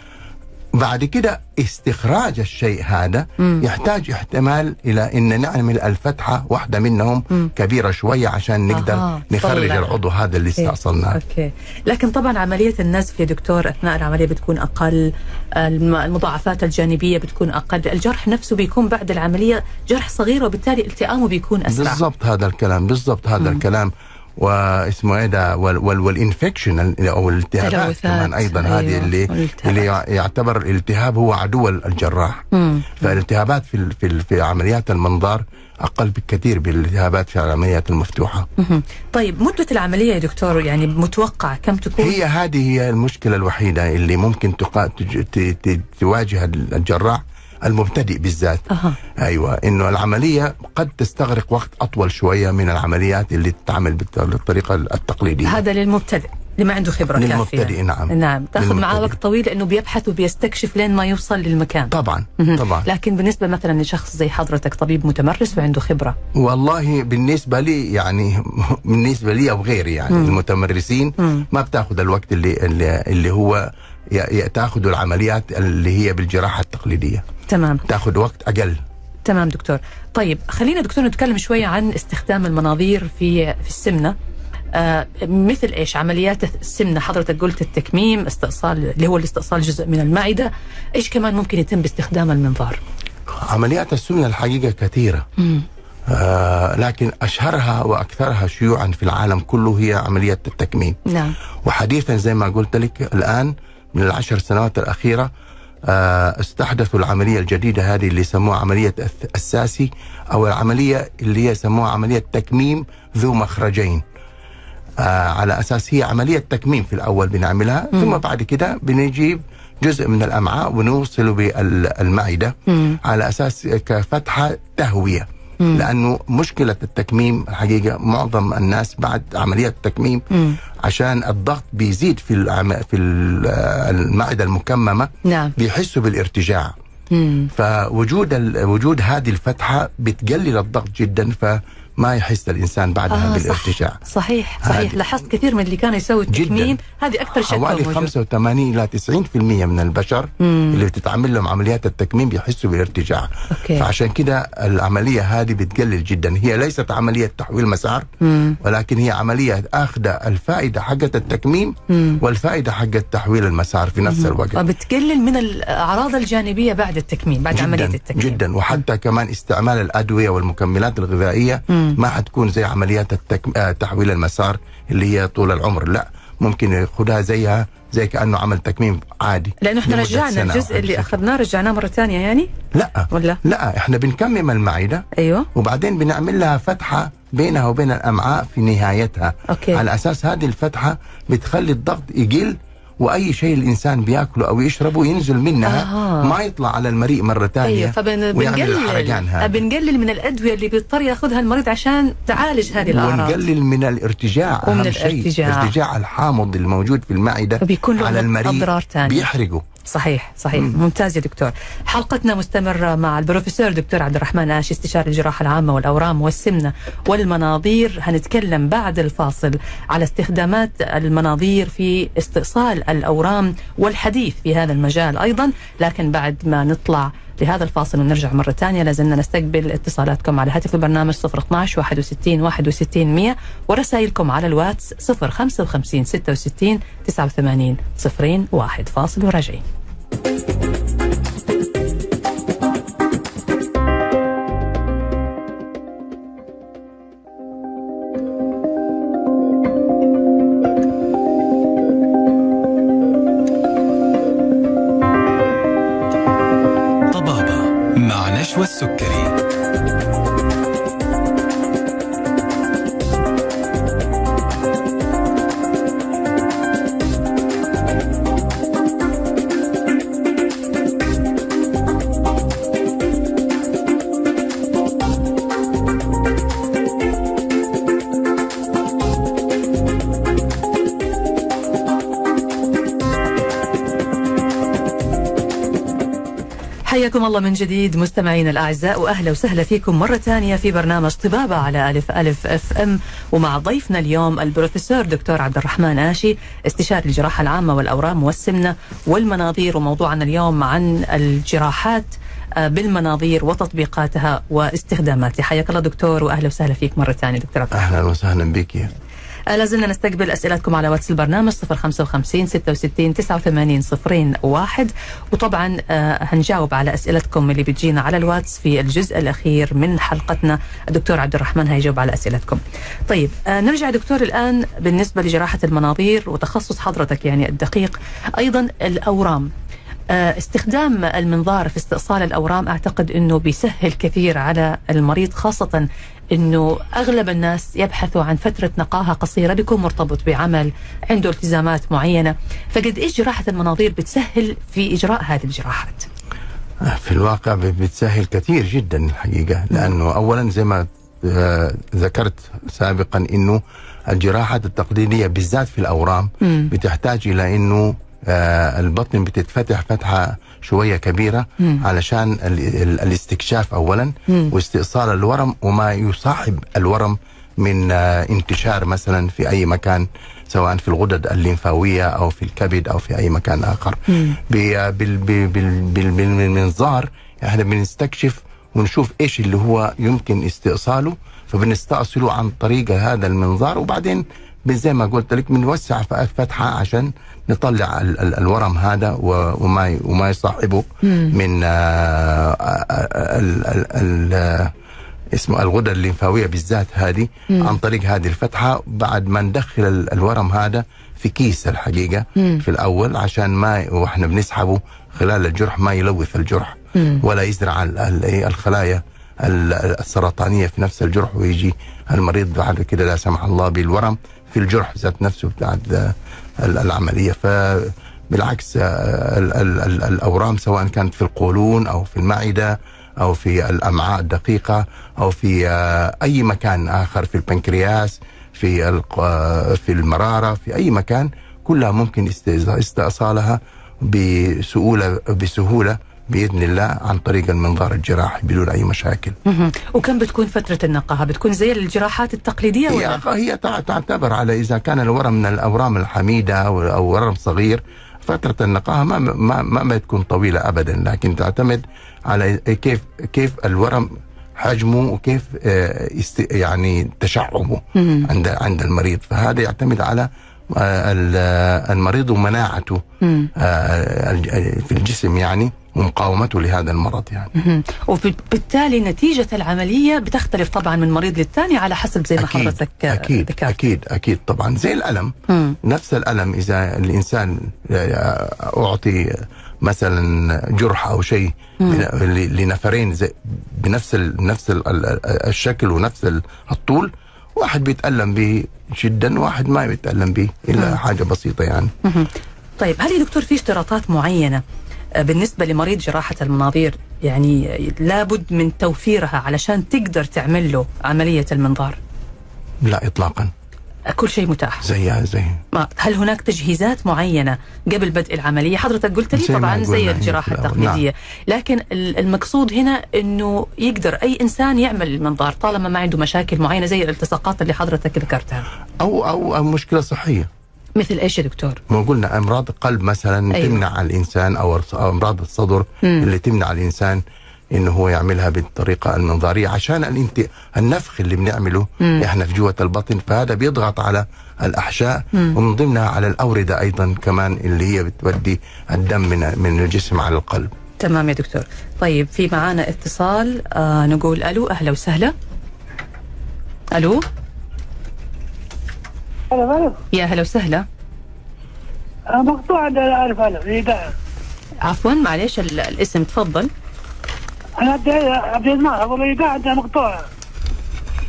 Speaker 3: بعد كده استخراج الشيء هذا
Speaker 2: مم.
Speaker 3: يحتاج احتمال الى ان نعمل الفتحه واحده منهم
Speaker 2: مم.
Speaker 3: كبيره شويه عشان نقدر
Speaker 2: أها، طيب.
Speaker 3: نخرج
Speaker 2: تطلع.
Speaker 3: العضو هذا اللي
Speaker 2: إيه، أوكي.
Speaker 3: استأصلناه
Speaker 2: اوكي لكن طبعا عمليه النزف يا دكتور اثناء العمليه بتكون اقل الم- المضاعفات الجانبيه بتكون اقل الجرح نفسه بيكون بعد العمليه جرح صغير وبالتالي التئامه بيكون اسرع
Speaker 3: بالضبط هذا الكلام بالضبط هذا
Speaker 2: مم.
Speaker 3: الكلام واسمه ايه ده وال وال والانفكشن ال- او الالتهابات
Speaker 2: تلوثات.
Speaker 3: كمان ايضا
Speaker 2: أيوة،
Speaker 3: هذه اللي
Speaker 2: والالتهابات.
Speaker 3: اللي يع- يعتبر الالتهاب هو عدو الجراح
Speaker 2: مم.
Speaker 3: فالالتهابات في ال- في ال- في عمليات المنظار اقل بكثير بالالتهابات في العمليات المفتوحه
Speaker 2: مهم. طيب مده العمليه يا دكتور يعني متوقع كم تكون
Speaker 3: هي هذه هي المشكله الوحيده اللي ممكن تقا... تج... ت... ت... تواجه الجراح المبتدئ بالذات
Speaker 2: أها.
Speaker 3: ايوه انه العمليه قد تستغرق وقت اطول شويه من العمليات اللي تتعمل بالت- بالطريقه التقليديه
Speaker 2: هذا للمبتدئ اللي ما عنده خبره
Speaker 3: للمبتدئ،
Speaker 2: كافيه
Speaker 3: نعم.
Speaker 2: نعم تاخذ معاه
Speaker 3: للمبتدئ.
Speaker 2: وقت طويل لانه بيبحث وبيستكشف لين ما يوصل للمكان
Speaker 3: طبعا
Speaker 2: مهم.
Speaker 3: طبعا
Speaker 2: لكن بالنسبه مثلا لشخص زي حضرتك طبيب متمرس وعنده خبره
Speaker 3: والله بالنسبه لي يعني بالنسبه لي او غيري يعني
Speaker 2: مم.
Speaker 3: المتمرسين
Speaker 2: مم.
Speaker 3: ما بتاخذ الوقت اللي اللي, اللي هو ي- ي- تاخذ العمليات اللي هي بالجراحه التقليديه
Speaker 2: تمام
Speaker 3: تاخذ وقت اقل
Speaker 2: تمام دكتور طيب خلينا دكتور نتكلم شوية عن استخدام المناظير في في السمنة آه مثل ايش عمليات السمنة حضرتك قلت التكميم استئصال اللي هو الاستئصال جزء من المعدة ايش كمان ممكن يتم باستخدام المنظار
Speaker 3: عمليات السمنه الحقيقه كثيره آه لكن اشهرها واكثرها شيوعا في العالم كله هي عمليه التكميم
Speaker 2: نعم
Speaker 3: وحديثا زي ما قلت لك الان من العشر سنوات الاخيره آه، استحدثوا العمليه الجديده هذه اللي يسموها عمليه الث- الساسي او العمليه اللي هي يسموها عمليه تكميم ذو مخرجين آه، على اساس هي عمليه تكميم في الاول بنعملها ثم بعد كده بنجيب جزء من الامعاء ونوصله بالمعده
Speaker 2: مم.
Speaker 3: على اساس كفتحه تهويه لانه مشكله التكميم الحقيقه معظم الناس بعد عمليه التكميم
Speaker 2: مم.
Speaker 3: عشان الضغط بيزيد في العم... في ال- آه، المعده المكممه
Speaker 2: نعم
Speaker 3: بيحسوا بالارتجاع
Speaker 2: مم.
Speaker 3: فوجود ال... وجود هذه الفتحه بتقلل الضغط جدا فما يحس الانسان بعدها آه بالارتجاع
Speaker 2: صح. صحيح صحيح
Speaker 3: هذه-
Speaker 2: لاحظت كثير من اللي كانوا يسووا التكميم هذه اكثر شكوى
Speaker 3: حوالي
Speaker 2: موجودة
Speaker 3: 85 الى 90% من البشر
Speaker 2: مم.
Speaker 3: اللي بتتعمل لهم عمليات التكميم بيحسوا بالارتجاع
Speaker 2: أوكي.
Speaker 3: فعشان كده العمليه هذه بتقلل جدا هي ليست عمليه تحويل مسار
Speaker 2: مم.
Speaker 3: ولكن هي عمليه اخذه الفائده حقه التكميم
Speaker 2: مم.
Speaker 3: والفائده حقه تحويل المسار في نفس الوقت
Speaker 2: وبتقلل من الاعراض الجانبيه بعد التكميم بعد عمليه
Speaker 3: جدا
Speaker 2: التكميم
Speaker 3: جدا وحتى كمان استعمال الادويه والمكملات الغذائيه
Speaker 2: مم.
Speaker 3: ما حتكون زي عمليات التك... آه، تحويل المسار اللي هي طول العمر لا ممكن ياخذها زيها زي كانه عمل تكميم عادي
Speaker 2: لانه احنا
Speaker 3: لمدة
Speaker 2: رجعنا
Speaker 3: سنة أو
Speaker 2: الجزء
Speaker 3: حاجة
Speaker 2: اللي
Speaker 3: زي
Speaker 2: اخذناه رجعناه مره ثانيه يعني
Speaker 3: كده. لا
Speaker 2: ولا
Speaker 3: لا احنا بنكمم المعده
Speaker 2: ايوه
Speaker 3: وبعدين بنعمل لها فتحه بينها وبين الامعاء في نهايتها
Speaker 2: أوكي.
Speaker 3: على اساس هذه الفتحه بتخلي الضغط يقل واي شيء الانسان بياكله او يشربه ينزل منها
Speaker 2: آها.
Speaker 3: ما يطلع على المريء مره ثانيه
Speaker 2: ايوه
Speaker 3: ويعمل الحرجان هذا
Speaker 2: فبنقلل بنقلل من الادويه اللي بيضطر ياخذها المريض عشان تعالج هذه الاعراض
Speaker 3: ونقلل من الارتجاع
Speaker 2: ومن
Speaker 3: اهم شيء
Speaker 2: الارتجاع.
Speaker 3: الارتجاع الحامض الموجود في المعده
Speaker 2: فبيكون له
Speaker 3: على المريء
Speaker 2: أضرار تانية.
Speaker 3: بيحرقه
Speaker 2: صحيح صحيح ممتاز يا دكتور حلقتنا مستمرة مع البروفيسور دكتور عبد الرحمن آش استشاري الجراحة العامة والأورام والسمنة والمناظير هنتكلم بعد الفاصل على استخدامات المناظير في استئصال الأورام والحديث في هذا المجال أيضا لكن بعد ما نطلع لهذا الفاصل ونرجع مرة ثانية لازلنا نستقبل اتصالاتكم على هاتف البرنامج 012 61 61 100 ورسائلكم على الواتس 055 66 89 01 فاصل وراجعين
Speaker 1: طبابة مع نشوى السكري
Speaker 2: حياكم الله من جديد مستمعينا الاعزاء واهلا وسهلا فيكم مره ثانيه في برنامج طبابه على الف الف اف ام ومع ضيفنا اليوم البروفيسور دكتور عبد الرحمن آشي استشاري الجراحه العامه والاورام والسمنه والمناظير وموضوعنا اليوم عن الجراحات آه، بالمناظير وتطبيقاتها واستخداماتها حياك الله دكتور واهلا وسهلا فيك مره ثانيه دكتور عبد
Speaker 3: اهلا وسهلا بك يا
Speaker 2: آه، لازلنا نستقبل اسئلتكم على واتس البرنامج 055 66 89 صفرين واحد وطبعا آه، هنجاوب على اسئلتكم اللي بتجينا على الواتس في الجزء الاخير من حلقتنا الدكتور عبد الرحمن هيجاوب على اسئلتكم. طيب آه، نرجع دكتور الان بالنسبه لجراحه المناظير وتخصص حضرتك يعني الدقيق ايضا الاورام. آه، استخدام المنظار في استئصال الاورام اعتقد انه بيسهل كثير على المريض خاصه انه اغلب الناس يبحثوا عن فتره نقاهه قصيره بيكون مرتبط بعمل عنده التزامات معينه فقد ايش جراحه المناظير بتسهل في اجراء هذه الجراحات
Speaker 3: في الواقع ب- بتسهل كثير جدا الحقيقة لأنه أولا زي ما آه، ذكرت سابقا أنه الجراحات التقليدية بالذات في الأورام
Speaker 2: مم.
Speaker 3: بتحتاج إلى أنه آه، البطن بتتفتح فتحة شوية كبيرة
Speaker 2: مم.
Speaker 3: علشان ال- ال- الاستكشاف أولا
Speaker 2: مم.
Speaker 3: واستئصال الورم وما يصاحب الورم من آه، انتشار مثلا في أي مكان سواء في الغدد الليمفاوية أو في الكبد أو في أي مكان آخر
Speaker 2: مم.
Speaker 3: بال- بال- بال- بال- بالمنظار احنا بنستكشف ونشوف ايش اللي هو يمكن استئصاله فبنستأصله عن طريق هذا المنظار وبعدين بن- زي ما قلت لك بنوسع ف- الفتحه عشان نطلع ال- ال- الورم هذا و- وما ي- وما يصاحبه من آه، آه، آه، ال- ال- ال- آه، اسمه الغدد الليمفاويه بالذات هذه عن طريق هذه الفتحه بعد ما ندخل ال- الورم هذا في كيس الحقيقه
Speaker 2: مم.
Speaker 3: في الاول عشان ما واحنا بنسحبه خلال الجرح ما يلوث الجرح
Speaker 2: مم.
Speaker 3: ولا يزرع ال- ال- إيه الخلايا ال- السرطانيه في نفس الجرح ويجي المريض بعد كده لا سمح الله بالورم في الجرح ذات نفسه بتاع ال- ال- العمليه ف بالعكس آه، ال- ال- ال- الاورام سواء كانت في القولون او في المعده او في الامعاء الدقيقه او في آه، اي مكان اخر في البنكرياس في الق- آه، في المراره في اي مكان كلها ممكن است- استئصالها بسهوله بسهوله باذن الله عن طريق المنظار الجراحي بدون اي مشاكل.
Speaker 2: مهم. وكم بتكون فتره النقاهه بتكون زي الجراحات التقليديه
Speaker 3: هي
Speaker 2: ولا
Speaker 3: هي تع- تعتبر على اذا كان الورم من الاورام الحميده او أو ورم صغير فتره النقاهه ما ما ما, ما تكون طويله ابدا لكن تعتمد على كيف كيف الورم حجمه وكيف آه، است- يعني تشعبه
Speaker 2: مم.
Speaker 3: عند عند المريض فهذا يعتمد على آه، ال- آه، المريض ومناعته
Speaker 2: مم.
Speaker 3: آه، الج- في الجسم يعني ومقاومته لهذا المرض يعني
Speaker 2: مهم. وبالتالي نتيجه العمليه بتختلف طبعا من مريض للثاني على حسب زي ما حضرتك آه،
Speaker 3: اكيد
Speaker 2: ذكرت.
Speaker 3: اكيد اكيد طبعا زي الالم
Speaker 2: مم.
Speaker 3: نفس الألم إذا الإنسان آه، أعطي مثلا جرح أو شيء لنفرين زي- بنفس ال نفس ال الشكل ونفس ال- الطول واحد بيتألم به جدا واحد ما بيتألم به إلا حاجة بسيطة يعني
Speaker 2: مهم. طيب هل يا دكتور في اشتراطات معينة آه، بالنسبة لمريض جراحة المناظير يعني آه، لابد من توفيرها علشان تقدر تعمل له عملية المنظار
Speaker 3: لا إطلاقا
Speaker 2: آه، كل شيء متاح
Speaker 3: زيها زي
Speaker 2: ما- هل هناك تجهيزات معينة قبل بدء العملية حضرتك قلت لي
Speaker 3: زي ما
Speaker 2: طبعا زي
Speaker 3: قلنا
Speaker 2: الجراحة
Speaker 3: هي في الأول. نعم.
Speaker 2: التقليدية لكن ال- المقصود هنا أنه يقدر أي إنسان يعمل المنظار طالما ما عنده مشاكل معينة زي الالتصاقات اللي حضرتك ذكرتها
Speaker 3: أو أو أو مشكلة صحية
Speaker 2: مثل إيش يا دكتور؟
Speaker 3: ما قلنا امراض القلب مثلا
Speaker 2: أيوة.
Speaker 3: أيوة. تمنع الانسان او أو امراض الصدر
Speaker 2: مم.
Speaker 3: مم. اللي تمنع الانسان انه هو يعملها بالطريقه المنظاريه عشان الانت... النفخ اللي بنعمله
Speaker 2: مم.
Speaker 3: احنا في جوه البطن فهذا بيضغط على الاحشاء
Speaker 2: مم.
Speaker 3: ومن ضمنها على الاورده ايضا كمان اللي هي بتودي الدم من من الجسم على القلب
Speaker 2: تمام يا دكتور طيب في معانا اتصال آه نقول الو اهلا وسهلا الو
Speaker 4: هلا بلا
Speaker 2: يا اهلا وسهلا
Speaker 4: أنا مقطوع عند ألف ألف في داعي
Speaker 2: عفوا معلش ال- الاسم تفضل
Speaker 4: أنا عبد عبد المال أقول لي داعي أنت مقطوع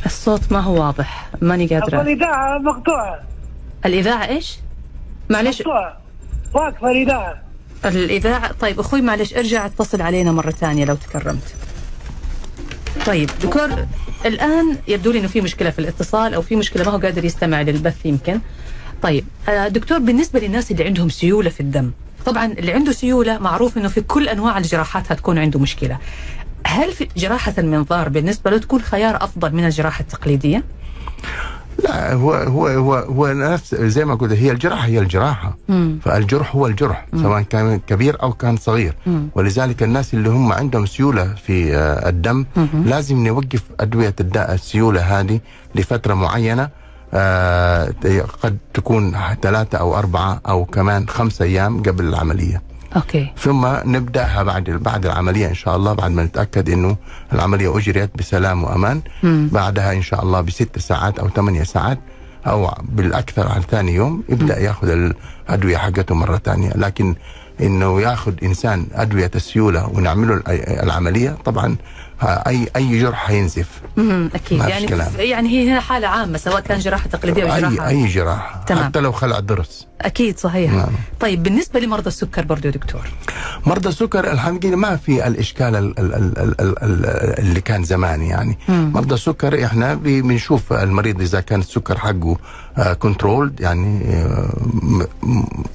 Speaker 2: الصوت ما هو واضح ماني
Speaker 4: أقول
Speaker 2: قادره
Speaker 4: لي داعي مقطوع
Speaker 2: الاذاعه ايش معلش
Speaker 4: مقطوع واقفة لي داعي
Speaker 2: الاذاعه طيب اخوي معلش ارجع اتصل علينا مره ثانيه لو تكرمت طيب دكتور الان يبدو لي انه في مشكله في الاتصال او في مشكله ما هو قادر يستمع للبث يمكن طيب آه، دكتور بالنسبه للناس اللي عندهم سيوله في الدم طبعا اللي عنده سيوله معروف انه في كل انواع الجراحات هتكون عنده مشكله هل في جراحه المنظار بالنسبه له تكون خيار افضل من الجراحه التقليديه
Speaker 3: لا هو هو هو هو نفس زي ما قلت هي الجراحه هي الجراحه
Speaker 2: مم.
Speaker 3: فالجرح هو الجرح سواء كان كبير او كان صغير
Speaker 2: مم.
Speaker 3: ولذلك الناس اللي هم عندهم سيوله في آه، الدم
Speaker 2: مهم.
Speaker 3: لازم نوقف ادويه الداء السيوله هذه لفتره معينه آه، قد تكون ثلاثة أو أربعة أو كمان خمسة أيام قبل العملية
Speaker 2: اوكي
Speaker 3: ثم نبدأها بعد بعد العملية إن شاء الله بعد ما نتأكد إنه العملية أجريت بسلام وأمان
Speaker 2: مم.
Speaker 3: بعدها ان شاء الله بست ساعات او ثمانية ساعات او بالاكثر عن ثاني يوم يبدا ياخذ الادويه حقته مره ثانيه لكن انه ياخذ انسان ادويه السيوله ونعمل له العمليه طبعا ها، اي اي جرح هينزف
Speaker 2: مم. اكيد
Speaker 3: ما فيش
Speaker 2: يعني
Speaker 3: كلام.
Speaker 2: يعني هي هنا حاله عامه سواء كان جراحه تقليديه او
Speaker 3: اي
Speaker 2: جراحه
Speaker 3: اي جراحه
Speaker 2: تمام.
Speaker 3: حتى لو خلع ضرس
Speaker 2: اكيد صحيح
Speaker 3: نعم.
Speaker 2: طيب بالنسبه لمرضى السكر برضو يا دكتور
Speaker 3: مرضى السكر الحمد لله ما في الاشكال ال- ال- ال- ال- ال- ال- اللي كان زمان يعني
Speaker 2: مم.
Speaker 3: مرضى السكر احنا بي- بنشوف المريض اذا كان السكر حقه كنترولد يعني آه، م-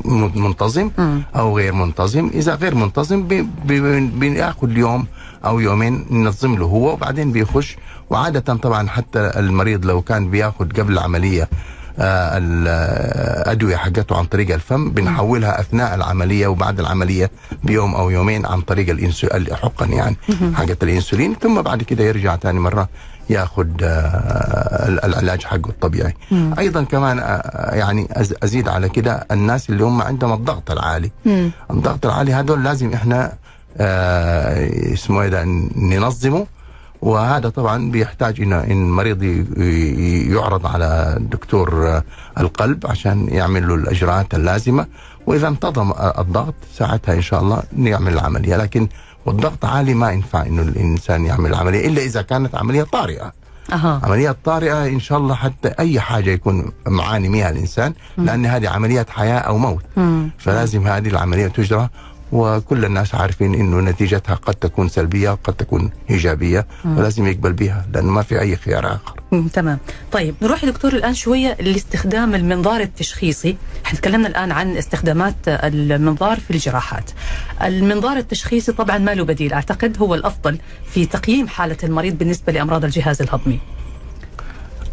Speaker 3: م- منتظم
Speaker 2: مم.
Speaker 3: او غير منتظم اذا غير منتظم بي- بي- بناخذ يوم او يومين ننظم له هو وبعدين بيخش وعاده طبعا حتى المريض لو كان بياخد قبل العمليه آه، الادويه حقته عن طريق الفم بنحولها اثناء العمليه وبعد العمليه بيوم او يومين عن طريق الانسو- الحقن يعني حقت الانسولين ثم بعد كده يرجع ثاني مره ياخذ العلاج حقه الطبيعي ايضا كمان آه، يعني أز- ازيد على كده الناس اللي هم عندهم الضغط العالي
Speaker 2: مم.
Speaker 3: الضغط العالي هذول لازم احنا آه، اسمه ايه ده ننظمه وهذا طبعا بيحتاج ان ان المريض ي- ي- يعرض على دكتور آه، القلب عشان يعمل له الاجراءات اللازمه واذا انتظم آه، الضغط ساعتها ان شاء الله نعمل العمليه لكن والضغط عالي ما ينفع انه الانسان يعمل عمليه الا اذا كانت عمليه طارئه
Speaker 2: اها
Speaker 3: عمليات طارئه ان شاء الله حتى اي حاجه يكون معاني منها الانسان لان هذه عمليات حياه او موت
Speaker 2: مم.
Speaker 3: فلازم هذه العملية تجرى وكل الناس عارفين انه نتيجتها قد تكون سلبيه قد تكون ايجابيه ولازم يقبل بها لانه ما في اي خيار اخر
Speaker 2: مم، تمام طيب نروح يا دكتور الان شويه لاستخدام المنظار التشخيصي احنا تكلمنا الان عن استخدامات المنظار في الجراحات المنظار التشخيصي طبعا ما له بديل اعتقد هو الافضل في تقييم حاله المريض بالنسبه لامراض الجهاز الهضمي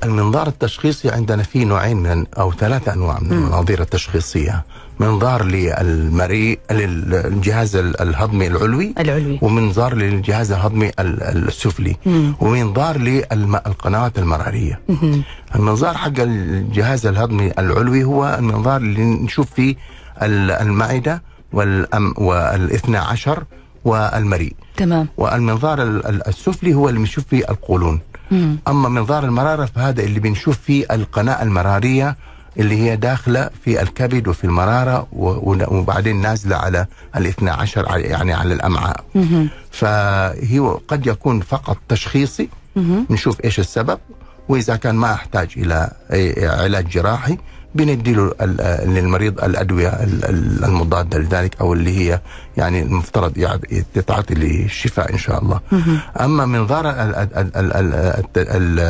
Speaker 3: المنظار التشخيصي عندنا فيه نوعين من او ثلاثة انواع من المناظير التشخيصيه منظار للمريء للجهاز ال- الهضمي العلوي
Speaker 2: العلوي
Speaker 3: ومنظار للجهاز الهضمي ال- ال- السفلي
Speaker 2: مم.
Speaker 3: ومنظار للقنوات المراريه
Speaker 2: مهم.
Speaker 3: المنظار حق الجهاز الهضمي العلوي هو المنظار اللي نشوف فيه ال- المعدة والأم والاثنى عشر والمريء
Speaker 2: تمام
Speaker 3: والمنظار ال- ال- السفلي هو اللي بنشوف فيه القولون
Speaker 2: مم.
Speaker 3: أما منظار المرارة فهذا اللي بنشوف فيه القناة المرارية اللي هي داخلة في الكبد وفي المرارة و- ون- وبعدين نازلة على الاثنى عشر على- يعني على الأمعاء
Speaker 2: مهم.
Speaker 3: فهو قد يكون فقط تشخيصي
Speaker 2: مهم.
Speaker 3: نشوف ايش السبب واذا كان ما احتاج الى إيه، علاج جراحي بنديله ال- آه، للمريض الادويه ال- ال- المضاده لذلك او اللي هي يعني المفترض يع- تعطي للشفاء ان شاء الله. اما منظار ال- ال- ال- ال- ال- الت- ال-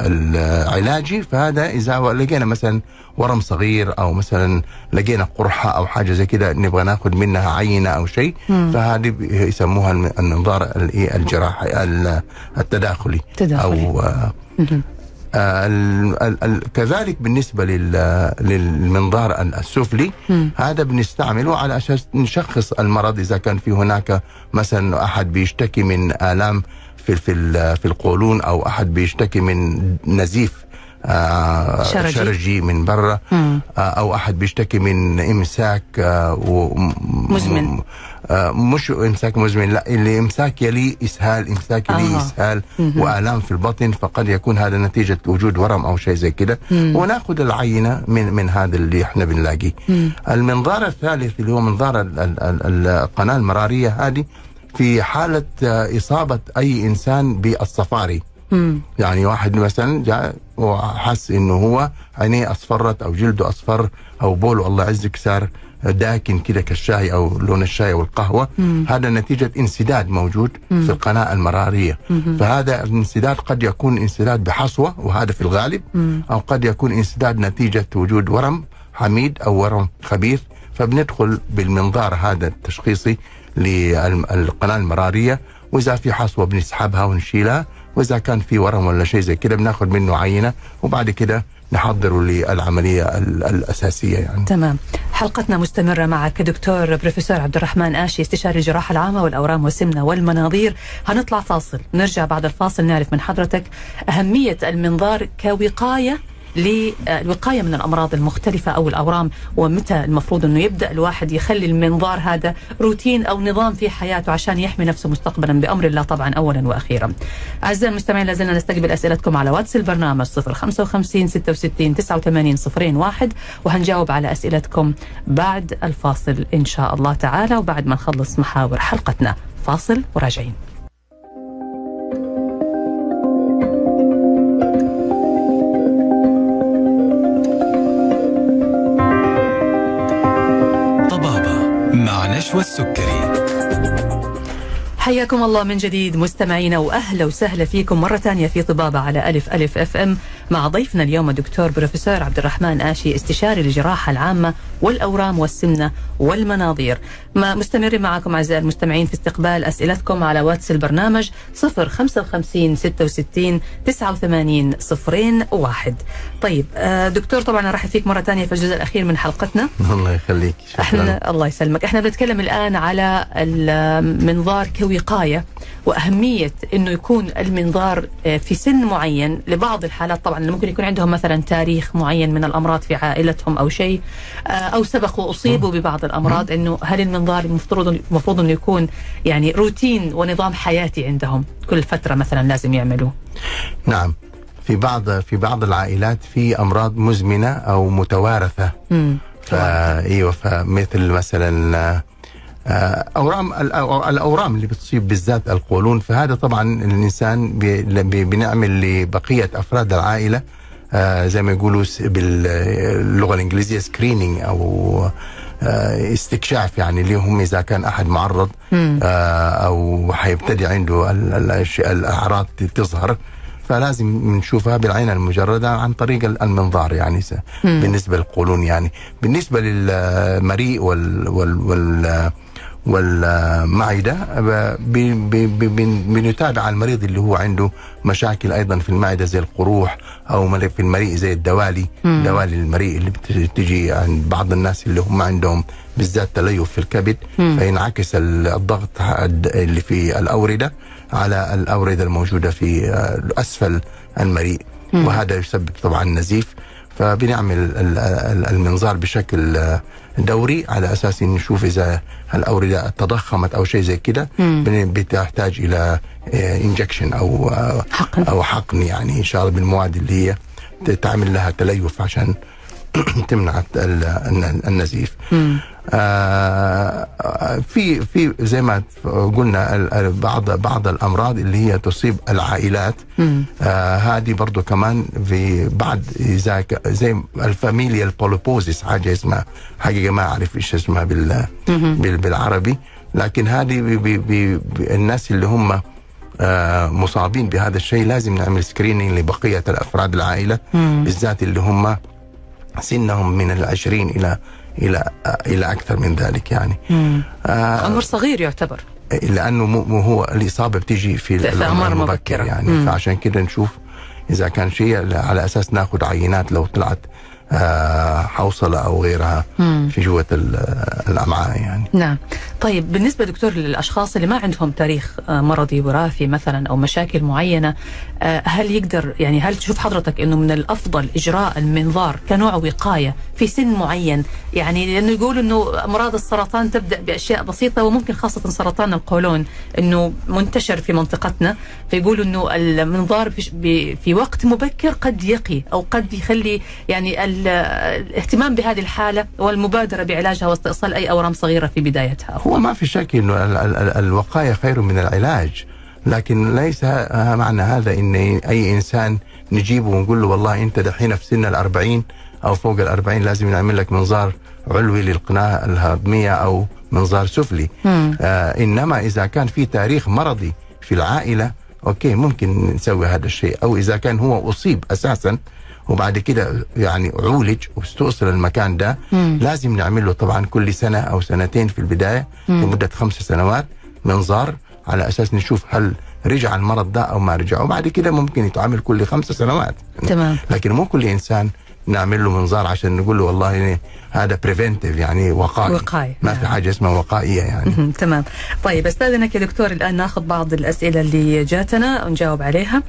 Speaker 3: ال- العلاجي فهذا اذا لقينا مثلا ورم صغير او مثلا لقينا قرحه او حاجه زي كده نبغى ناخذ منها عينه او شيء فهذه ب- يسموها الم- المنظار ال- إيه، الجراحي ال- التداخلي.
Speaker 2: تداخلي.
Speaker 3: او آه،
Speaker 2: مهم.
Speaker 3: آه، ال- ال- ال- كذلك بالنسبه لل- للمنظار ال- السفلي
Speaker 2: مم.
Speaker 3: هذا بنستعمله على اساس نشخص المرض اذا كان في هناك مثلا احد بيشتكي من الام في في ال- في القولون او احد بيشتكي من نزيف آه،
Speaker 2: شرجي.
Speaker 3: شرجي من برا
Speaker 2: مم.
Speaker 3: آه، او احد بيشتكي من امساك آه، و- م-
Speaker 2: مزمن.
Speaker 3: آه، مش امساك مزمن لا اللي امساك يلي اسهال امساك يلي
Speaker 2: آه.
Speaker 3: اسهال
Speaker 2: مهم.
Speaker 3: والام في البطن فقد يكون هذا نتيجه وجود ورم او شيء زي كده
Speaker 2: مم.
Speaker 3: وناخذ العينه من من هذا اللي احنا بنلاقيه
Speaker 2: مم.
Speaker 3: المنظار الثالث اللي هو منظار ال- ال- ال- القناه المراريه هذه في حاله آه، اصابه اي انسان بالصفاري
Speaker 2: مم.
Speaker 3: يعني واحد مثلا جاء وحس انه هو عينيه اصفرت او جلده اصفر او بوله الله يعزك صار داكن كده كالشاي او لون الشاي والقهوه
Speaker 2: مم.
Speaker 3: هذا نتيجه انسداد موجود
Speaker 2: مم.
Speaker 3: في القناه المراريه
Speaker 2: مهم.
Speaker 3: فهذا الانسداد قد يكون انسداد بحصوه وهذا في الغالب
Speaker 2: مم.
Speaker 3: او قد يكون انسداد نتيجه وجود ورم حميد او ورم خبيث فبندخل بالمنظار هذا التشخيصي للقناه المراريه واذا في حصوه بنسحبها ونشيلها واذا كان في ورم ولا شيء زي كده بناخذ منه عينه وبعد كده نحضره للعمليه ال- الاساسيه يعني
Speaker 2: تمام حلقتنا مستمرة معك دكتور بروفيسور عبد الرحمن آشي استشاري الجراحة العامة والأورام والسمنة والمناظير هنطلع فاصل نرجع بعد الفاصل نعرف من حضرتك أهمية المنظار كوقاية للوقاية من الأمراض المختلفة أو الأورام ومتى المفروض أنه يبدأ الواحد يخلي المنظار هذا روتين أو نظام في حياته عشان يحمي نفسه مستقبلا بأمر الله طبعا أولا وأخيرا أعزائي المستمعين لازلنا نستقبل أسئلتكم على واتس البرنامج 055 66 89 01 وهنجاوب على أسئلتكم بعد الفاصل إن شاء الله تعالى وبعد ما نخلص محاور حلقتنا فاصل وراجعين
Speaker 1: طبابة مع نشوى السكري
Speaker 2: حياكم الله من جديد مستمعينا واهلا وسهلا فيكم مره ثانيه في طبابه على الف الف اف ام مع ضيفنا اليوم الدكتور بروفيسور عبد الرحمن اشي استشاري الجراحه العامه والاورام والسمنه والمناظير ما مستمرين معكم اعزائي المستمعين في استقبال اسئلتكم على واتس البرنامج 055 66 89 01 طيب آه، دكتور طبعا ارحب فيك مره ثانيه في الجزء الاخير من حلقتنا
Speaker 3: الله يخليك شكرا
Speaker 2: احنا الله يسلمك احنا بنتكلم الان على المنظار كوقايه واهميه انه يكون المنظار آه، في سن معين لبعض الحالات طبعا اللي ممكن يكون عندهم مثلا تاريخ معين من الامراض في عائلتهم او شيء آه، او سبقوا اصيبوا ببعض الامراض انه هل المنظار المفترض المفروض انه يكون يعني روتين ونظام حياتي عندهم كل فتره مثلا لازم يعملوه
Speaker 3: نعم في بعض في بعض العائلات في امراض مزمنه او متوارثه
Speaker 2: امم
Speaker 3: فا ايوه فمثل مثلا آه، اورام الأو- الاورام اللي بتصيب بالذات القولون فهذا طبعا الانسان بي- بي- بنعمل لبقيه افراد العائله آه، زي ما يقولوا س- باللغه الانجليزيه سكرينينج او آه، استكشاف يعني لهم اذا كان احد معرض آه، او حيبتدي عنده ال- ال- الأش- الاعراض ت- تظهر فلازم نشوفها بالعين المجرده عن طريق ال- المنظار يعني س- بالنسبه للقولون يعني بالنسبه للمريء وال وال وال والمعده ب- ب- ب- ب- بنتابع المريض اللي هو عنده مشاكل ايضا في المعده زي القروح او مل- في المريء زي الدوالي دوالي المريء اللي بتجي عند بعض الناس اللي هم عندهم بالذات تليف في الكبد فينعكس ال- الضغط عد- اللي في الاورده على الاورده الموجوده في آه، اسفل المريء وهذا يسبب طبعا نزيف فبنعمل ال- ال- المنظار بشكل آه، دوري على اساس إن نشوف اذا الاورده تضخمت او شيء زي كده بن- بتحتاج الى انجكشن او آه،
Speaker 2: حقن.
Speaker 3: او حقن يعني ان شاء الله بالمواد اللي هي ت- تعمل لها تليف عشان تمنع الت- ال- الن- النزيف آه، آه، في في زي ما قلنا ال- ال- بعض بعض الامراض اللي هي تصيب العائلات آه، هذه برضو كمان في بعد زي, زي الفاميليا البوليبوزيس حاجه اسمها حقيقه ما اعرف ايش اسمها بال بال- بالعربي لكن هذه بي- بي- بي- بي- الناس اللي هم آه آه، مصابين بهذا الشيء لازم نعمل سكريننج لبقية الأفراد العائلة بالذات اللي هم سنهم من العشرين إلى إلى آه، إلى أكثر من ذلك يعني آه
Speaker 2: عمر صغير يعتبر
Speaker 3: لأنه مو مو هو الإصابة بتيجي في
Speaker 2: في أعمار
Speaker 3: الأعمار
Speaker 2: مبكرة.
Speaker 3: المبكرة يعني
Speaker 2: مم.
Speaker 3: فعشان كده نشوف إذا كان شيء على أساس ناخذ عينات لو طلعت آه، حوصلة أو غيرها في جوة ال- الأمعاء يعني
Speaker 2: نعم طيب بالنسبة دكتور للأشخاص اللي ما عندهم تاريخ آه، مرضي وراثي مثلا أو مشاكل معينة آه، هل يقدر يعني هل تشوف حضرتك أنه من الأفضل إجراء المنظار كنوع وقاية في سن معين يعني لأنه يقول أنه أمراض السرطان تبدأ بأشياء بسيطة وممكن خاصة سرطان القولون أنه منتشر في منطقتنا فيقولوا أنه المنظار بش- ب- في وقت مبكر قد يقي أو قد يخلي يعني ال- الاهتمام بهذه الحالة والمبادرة بعلاجها واستئصال أي أورام صغيرة في بدايتها
Speaker 3: هو ما في شك انه ال- ال- ال- الوقايه خير من العلاج لكن ليس ه- معنى هذا ان اي انسان نجيبه ونقول له والله انت دحين في سن الأربعين او فوق الأربعين لازم نعمل لك منظار علوي للقناه الهضميه او منظار سفلي آه انما اذا كان في تاريخ مرضي في العائله اوكي ممكن نسوي هذا الشيء او اذا كان هو اصيب اساسا وبعد كده يعني عولج واستوصل المكان ده
Speaker 2: مم.
Speaker 3: لازم نعمل له طبعا كل سنه او سنتين في البدايه
Speaker 2: مم.
Speaker 3: لمده خمس سنوات منظار على اساس نشوف هل رجع المرض ده او ما رجع وبعد كده ممكن يتعامل كل خمس سنوات
Speaker 2: تمام
Speaker 3: لكن مو كل انسان نعمل له منظار عشان نقول له والله يعني هذا بريفنتيف يعني وقائي
Speaker 2: وقائي،
Speaker 3: ما في
Speaker 2: نعم.
Speaker 3: حاجه اسمها وقائيه يعني
Speaker 2: مهم. تمام طيب استاذنك يا دكتور الان ناخذ بعض الاسئله اللي جاتنا ونجاوب عليها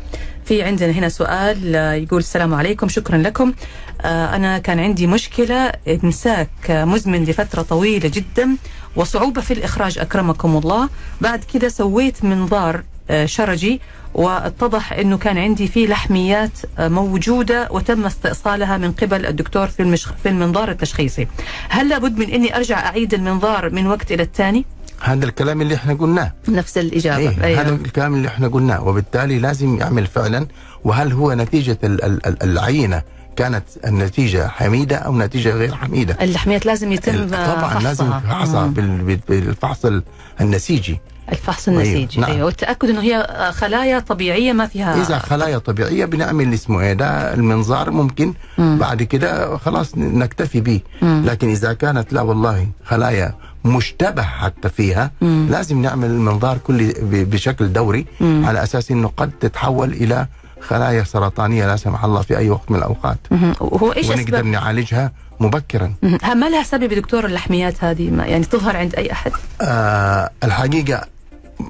Speaker 2: في عندنا هنا سؤال آه، يقول السلام عليكم شكرا لكم آه، انا كان عندي مشكله امساك آه، مزمن لفتره طويله جدا وصعوبه في الاخراج اكرمكم الله بعد كده سويت منظار آه، شرجي واتضح انه كان عندي فيه لحميات آه، موجوده وتم استئصالها من قبل الدكتور في المشخ... في المنظار التشخيصي هل لابد من اني ارجع اعيد المنظار من وقت الى الثاني
Speaker 3: هذا الكلام اللي احنا قلناه
Speaker 2: نفس الإجابة أيوة.
Speaker 3: إيه؟ هذا الكلام اللي احنا قلناه وبالتالي لازم يعمل فعلا وهل هو نتيجه ال- ال- ال- العينه كانت النتيجه حميده او نتيجه غير حميده
Speaker 2: اللحميات لازم يتم
Speaker 3: طبعا
Speaker 2: فحصها.
Speaker 3: إيه، لازم فحصها
Speaker 2: مم.
Speaker 3: بال- بال- بالفحص ال- النسيجي
Speaker 2: الفحص النسيجي
Speaker 3: أيوه، نعم.
Speaker 2: أيوه. والتأكد أنه هي آه، خلايا طبيعية ما فيها
Speaker 3: اذا خلايا طبيعيه بنعمل اسمه ايه ده المنظار ممكن
Speaker 2: مم.
Speaker 3: بعد كده خلاص ن- نكتفي به
Speaker 2: مم.
Speaker 3: لكن اذا كانت لا والله خلايا مشتبه حتى فيها
Speaker 2: مم.
Speaker 3: لازم نعمل المنظار كل ب- بشكل دوري
Speaker 2: مم.
Speaker 3: على اساس انه قد تتحول الى خلايا سرطانيه لا سمح الله في اي وقت من الاوقات
Speaker 2: مهم. هو إيش
Speaker 3: ونقدر
Speaker 2: أسباب
Speaker 3: نعالجها مبكرا
Speaker 2: مهم. ها، ما لها سبب يا دكتور اللحميات هذه ما يعني تظهر عند أي أحد
Speaker 3: آه الحقيقه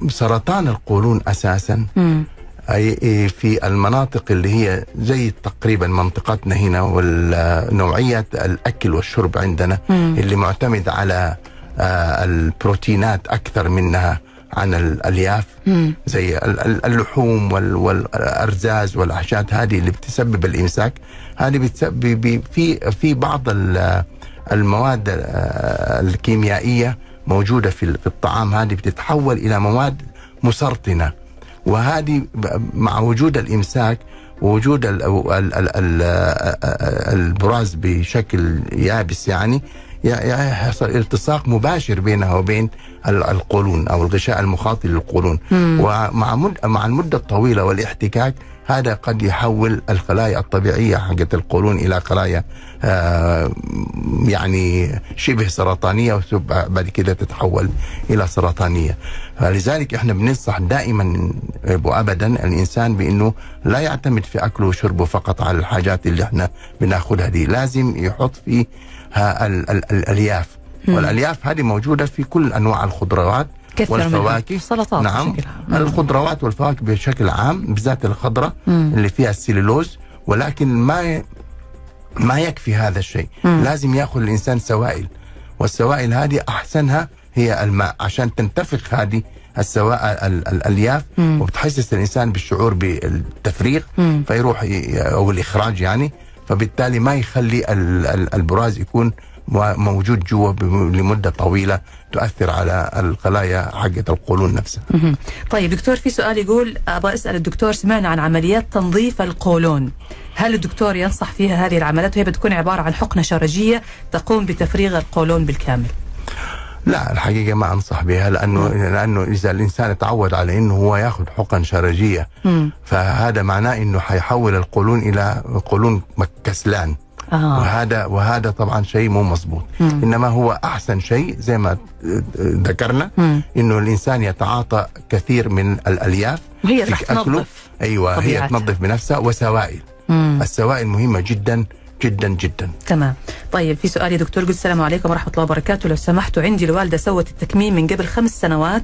Speaker 3: سرطان القولون اساسا
Speaker 2: مم.
Speaker 3: أي إيه، في المناطق اللي هي زي تقريبا منطقتنا هنا والنوعية الأكل والشرب عندنا
Speaker 2: مم.
Speaker 3: اللي معتمد على آه، البروتينات أكثر منها عن ال- الألياف
Speaker 2: مم.
Speaker 3: زي ال- ال- اللحوم وال- والأرزاز والأحشاد هذه اللي بتسبب الإمساك هذه بتسبب في في بعض ال- المواد آه، الكيميائية موجودة في ال- في الطعام هذه بتتحول إلى مواد مسرطنة وهذه ب- مع وجود الامساك ووجود ال- ال- ال- ال- آه، البراز بشكل يابس يعني يع- يع- يحصل التصاق مباشر بينها وبين ال- القولون او الغشاء المخاطي للقولون ومع مد- مع المده الطويله والاحتكاك هذا قد يحول الخلايا الطبيعيه حقت القولون الى خلايا آه، يعني شبه سرطانيه وتبقى بعد كده تتحول الى سرطانيه فلذلك احنا بننصح دائما وابدا الانسان بانه لا يعتمد في اكله وشربه فقط على الحاجات اللي احنا بناخذها دي لازم يحط فيها ال- ال- ال- الالياف والالياف هذه موجوده في كل انواع الخضروات
Speaker 2: كثر منها.
Speaker 3: والفواكه
Speaker 2: سلطات
Speaker 3: نعم
Speaker 2: بشكل عام. مم.
Speaker 3: الخضروات والفواكه بشكل عام بالذات الخضراء اللي فيها السليلوز ولكن ما ما يكفي هذا الشيء
Speaker 2: مم.
Speaker 3: لازم ياخذ الانسان سوائل والسوائل هذه احسنها هي الماء عشان تنتفخ هذه السوائل ال- ال- الالياف
Speaker 2: مم.
Speaker 3: وبتحسس الانسان بالشعور بالتفريغ
Speaker 2: مم.
Speaker 3: فيروح ي- او الاخراج يعني فبالتالي ما يخلي ال- ال- البراز يكون مو- موجود جوا بم- لمده طويله تؤثر على الخلايا حقت القولون نفسها
Speaker 2: مهم. طيب دكتور في سؤال يقول ابغى اسال الدكتور سمعنا عن عمليات تنظيف القولون هل الدكتور ينصح فيها هذه العمليات وهي بتكون عباره عن حقنه شرجيه تقوم بتفريغ القولون بالكامل
Speaker 3: لا الحقيقه ما انصح بها لانه
Speaker 2: نعم.
Speaker 3: لانه اذا الانسان تعود على انه هو ياخذ حقن شرجيه
Speaker 2: مم.
Speaker 3: فهذا معناه انه حيحول القولون الى قولون كسلان
Speaker 2: اه
Speaker 3: وهذا وهذا طبعا شيء مو مزبوط
Speaker 2: مم.
Speaker 3: انما هو احسن شيء زي ما ذكرنا
Speaker 2: مم.
Speaker 3: انه الانسان يتعاطى كثير من الالياف
Speaker 2: وهي
Speaker 3: في
Speaker 2: راح
Speaker 3: أكله.
Speaker 2: تنظف
Speaker 3: ايوه
Speaker 2: طبيعتها.
Speaker 3: هي تنظف بنفسها وسوائل
Speaker 2: مم.
Speaker 3: السوائل مهمه جدا جدا جدا
Speaker 2: تمام طيب في سؤال يا دكتور قلت السلام عليكم ورحمه الله وبركاته لو سمحتوا عندي الوالده سوت التكميم من قبل خمس سنوات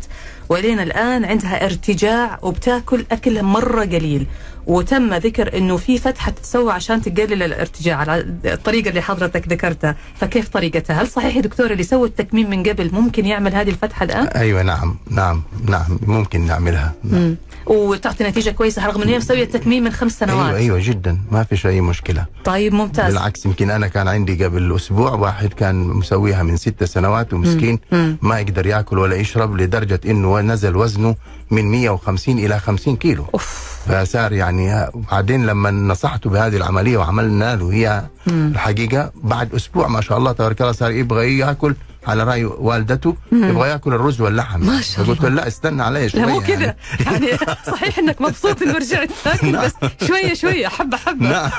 Speaker 2: والين الان عندها ارتجاع وبتاكل اكل مره قليل وتم ذكر انه في فتحه تسوى عشان تقلل الارتجاع على الطريقه اللي حضرتك ذكرتها فكيف طريقتها هل صحيح يا دكتور اللي سوى التكميم من قبل ممكن يعمل هذه الفتحه الان
Speaker 3: ايوه نعم نعم نعم ممكن نعملها نعم.
Speaker 2: مم. وتعطي نتيجه كويسه رغم انه هي مسويه التكميم من خمس سنوات
Speaker 3: ايوه ايوه جدا ما في شيء مشكله
Speaker 2: طيب ممتاز
Speaker 3: بالعكس يمكن انا كان عندي قبل اسبوع واحد كان مسويها من ست سنوات ومسكين
Speaker 2: مم.
Speaker 3: ما يقدر ياكل ولا يشرب لدرجه انه نزل وزنه من 150 الى 50 كيلو
Speaker 2: اوف
Speaker 3: فصار يعني بعدين لما نصحته بهذه العمليه وعملنا له هي الحقيقه بعد اسبوع ما شاء الله تبارك الله صار يبغى ياكل على راي والدته يبغى ياكل الرز واللحم
Speaker 2: ما شاء
Speaker 3: فقلت له
Speaker 2: الله.
Speaker 3: لا استنى علي شويه
Speaker 2: لا مو كذا
Speaker 3: يعني.
Speaker 2: يعني صحيح انك مبسوط انه رجعت لكن بس شويه شويه حبه حبه
Speaker 3: نعم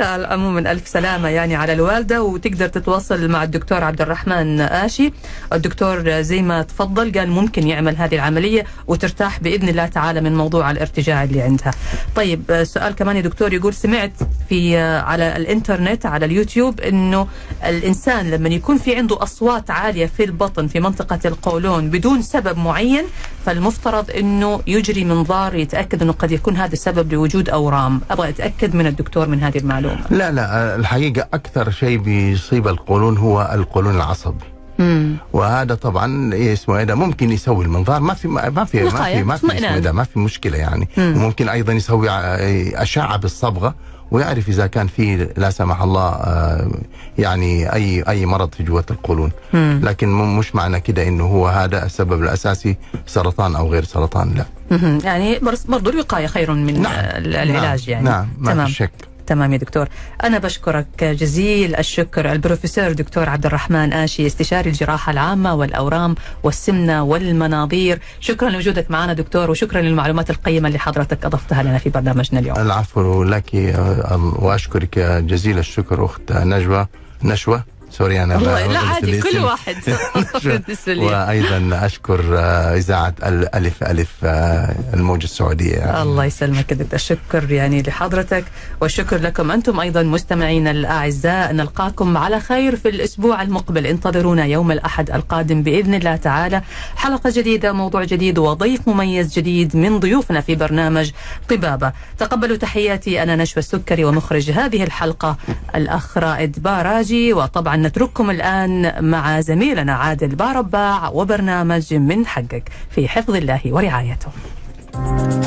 Speaker 2: عموما الف سلامه يعني على الوالده وتقدر تتواصل مع الدكتور عبد الرحمن اشي الدكتور زي ما تفضل قال ممكن يعمل هذه العمليه وترتاح باذن الله تعالى من موضوع الارتجاع اللي عندها طيب آه، سؤال كمان يا دكتور يقول سمعت في آه، على الانترنت على اليوتيوب انه الانسان لما يكون في عنده اصوات عاليه في البطن في منطقه القولون بدون سبب معين فالمفترض انه يجري منظار يتاكد انه قد يكون هذا السبب لوجود اورام ابغى اتاكد من الدكتور من هذه المعلومه
Speaker 3: لا لا الحقيقه اكثر شيء بيصيب القولون هو القولون العصبي
Speaker 2: امم
Speaker 3: وهذا طبعا إيه اسمه ايه ده ممكن يسوي المنظار ما في ما في ما
Speaker 2: وقاية،
Speaker 3: في ما في اسمه
Speaker 2: اطمئنان.
Speaker 3: إيه ده ما في مشكله يعني
Speaker 2: مم.
Speaker 3: وممكن ايضا يسوي ع- إيه اشعه بالصبغه ويعرف اذا كان في لا سمح الله آه، يعني اي اي مرض في جوه القولون
Speaker 2: مم.
Speaker 3: لكن م- مش معنى كده انه هو هذا السبب الاساسي سرطان او غير سرطان لا
Speaker 2: مهم. يعني برس- برضو الوقايه خير من
Speaker 3: نعم.
Speaker 2: آه، العلاج يعني
Speaker 3: نعم. نعم ما
Speaker 2: تمام
Speaker 3: في شك
Speaker 2: تمام يا دكتور أنا بشكرك جزيل الشكر البروفيسور دكتور عبد الرحمن آشي استشاري الجراحة العامة والأورام والسمنة والمناظير شكرا لوجودك معنا دكتور وشكرا للمعلومات القيمة اللي حضرتك أضفتها لنا في برنامجنا اليوم
Speaker 3: العفو لك آه، واشكرك جزيل الشكر اخت نجوى نشوى سوري انا
Speaker 2: الله
Speaker 3: ب-
Speaker 2: لا عادي
Speaker 3: بنسى
Speaker 2: كل
Speaker 3: الاسم.
Speaker 2: واحد بالنسبة لي
Speaker 3: وايضا اشكر آه، اذاعه الالف الف آه، الموجه السعوديه يعني.
Speaker 2: الله يسلمك يا دكتور الشكر يعني لحضرتك والشكر لكم أنتم أيضا مستمعينا الأعزاء نلقاكم على خير في الأسبوع المقبل انتظرونا يوم الأحد القادم بإذن الله تعالى حلقة جديدة موضوع جديد وضيف مميز جديد من ضيوفنا في برنامج طبابة تقبلوا تحياتي أنا نشوى السكري ومخرج هذه الحلقة الأخ رائد باراجي وطبعا نترككم الآن مع زميلنا عادل بارباع وبرنامج من حقك في حفظ الله ورعايته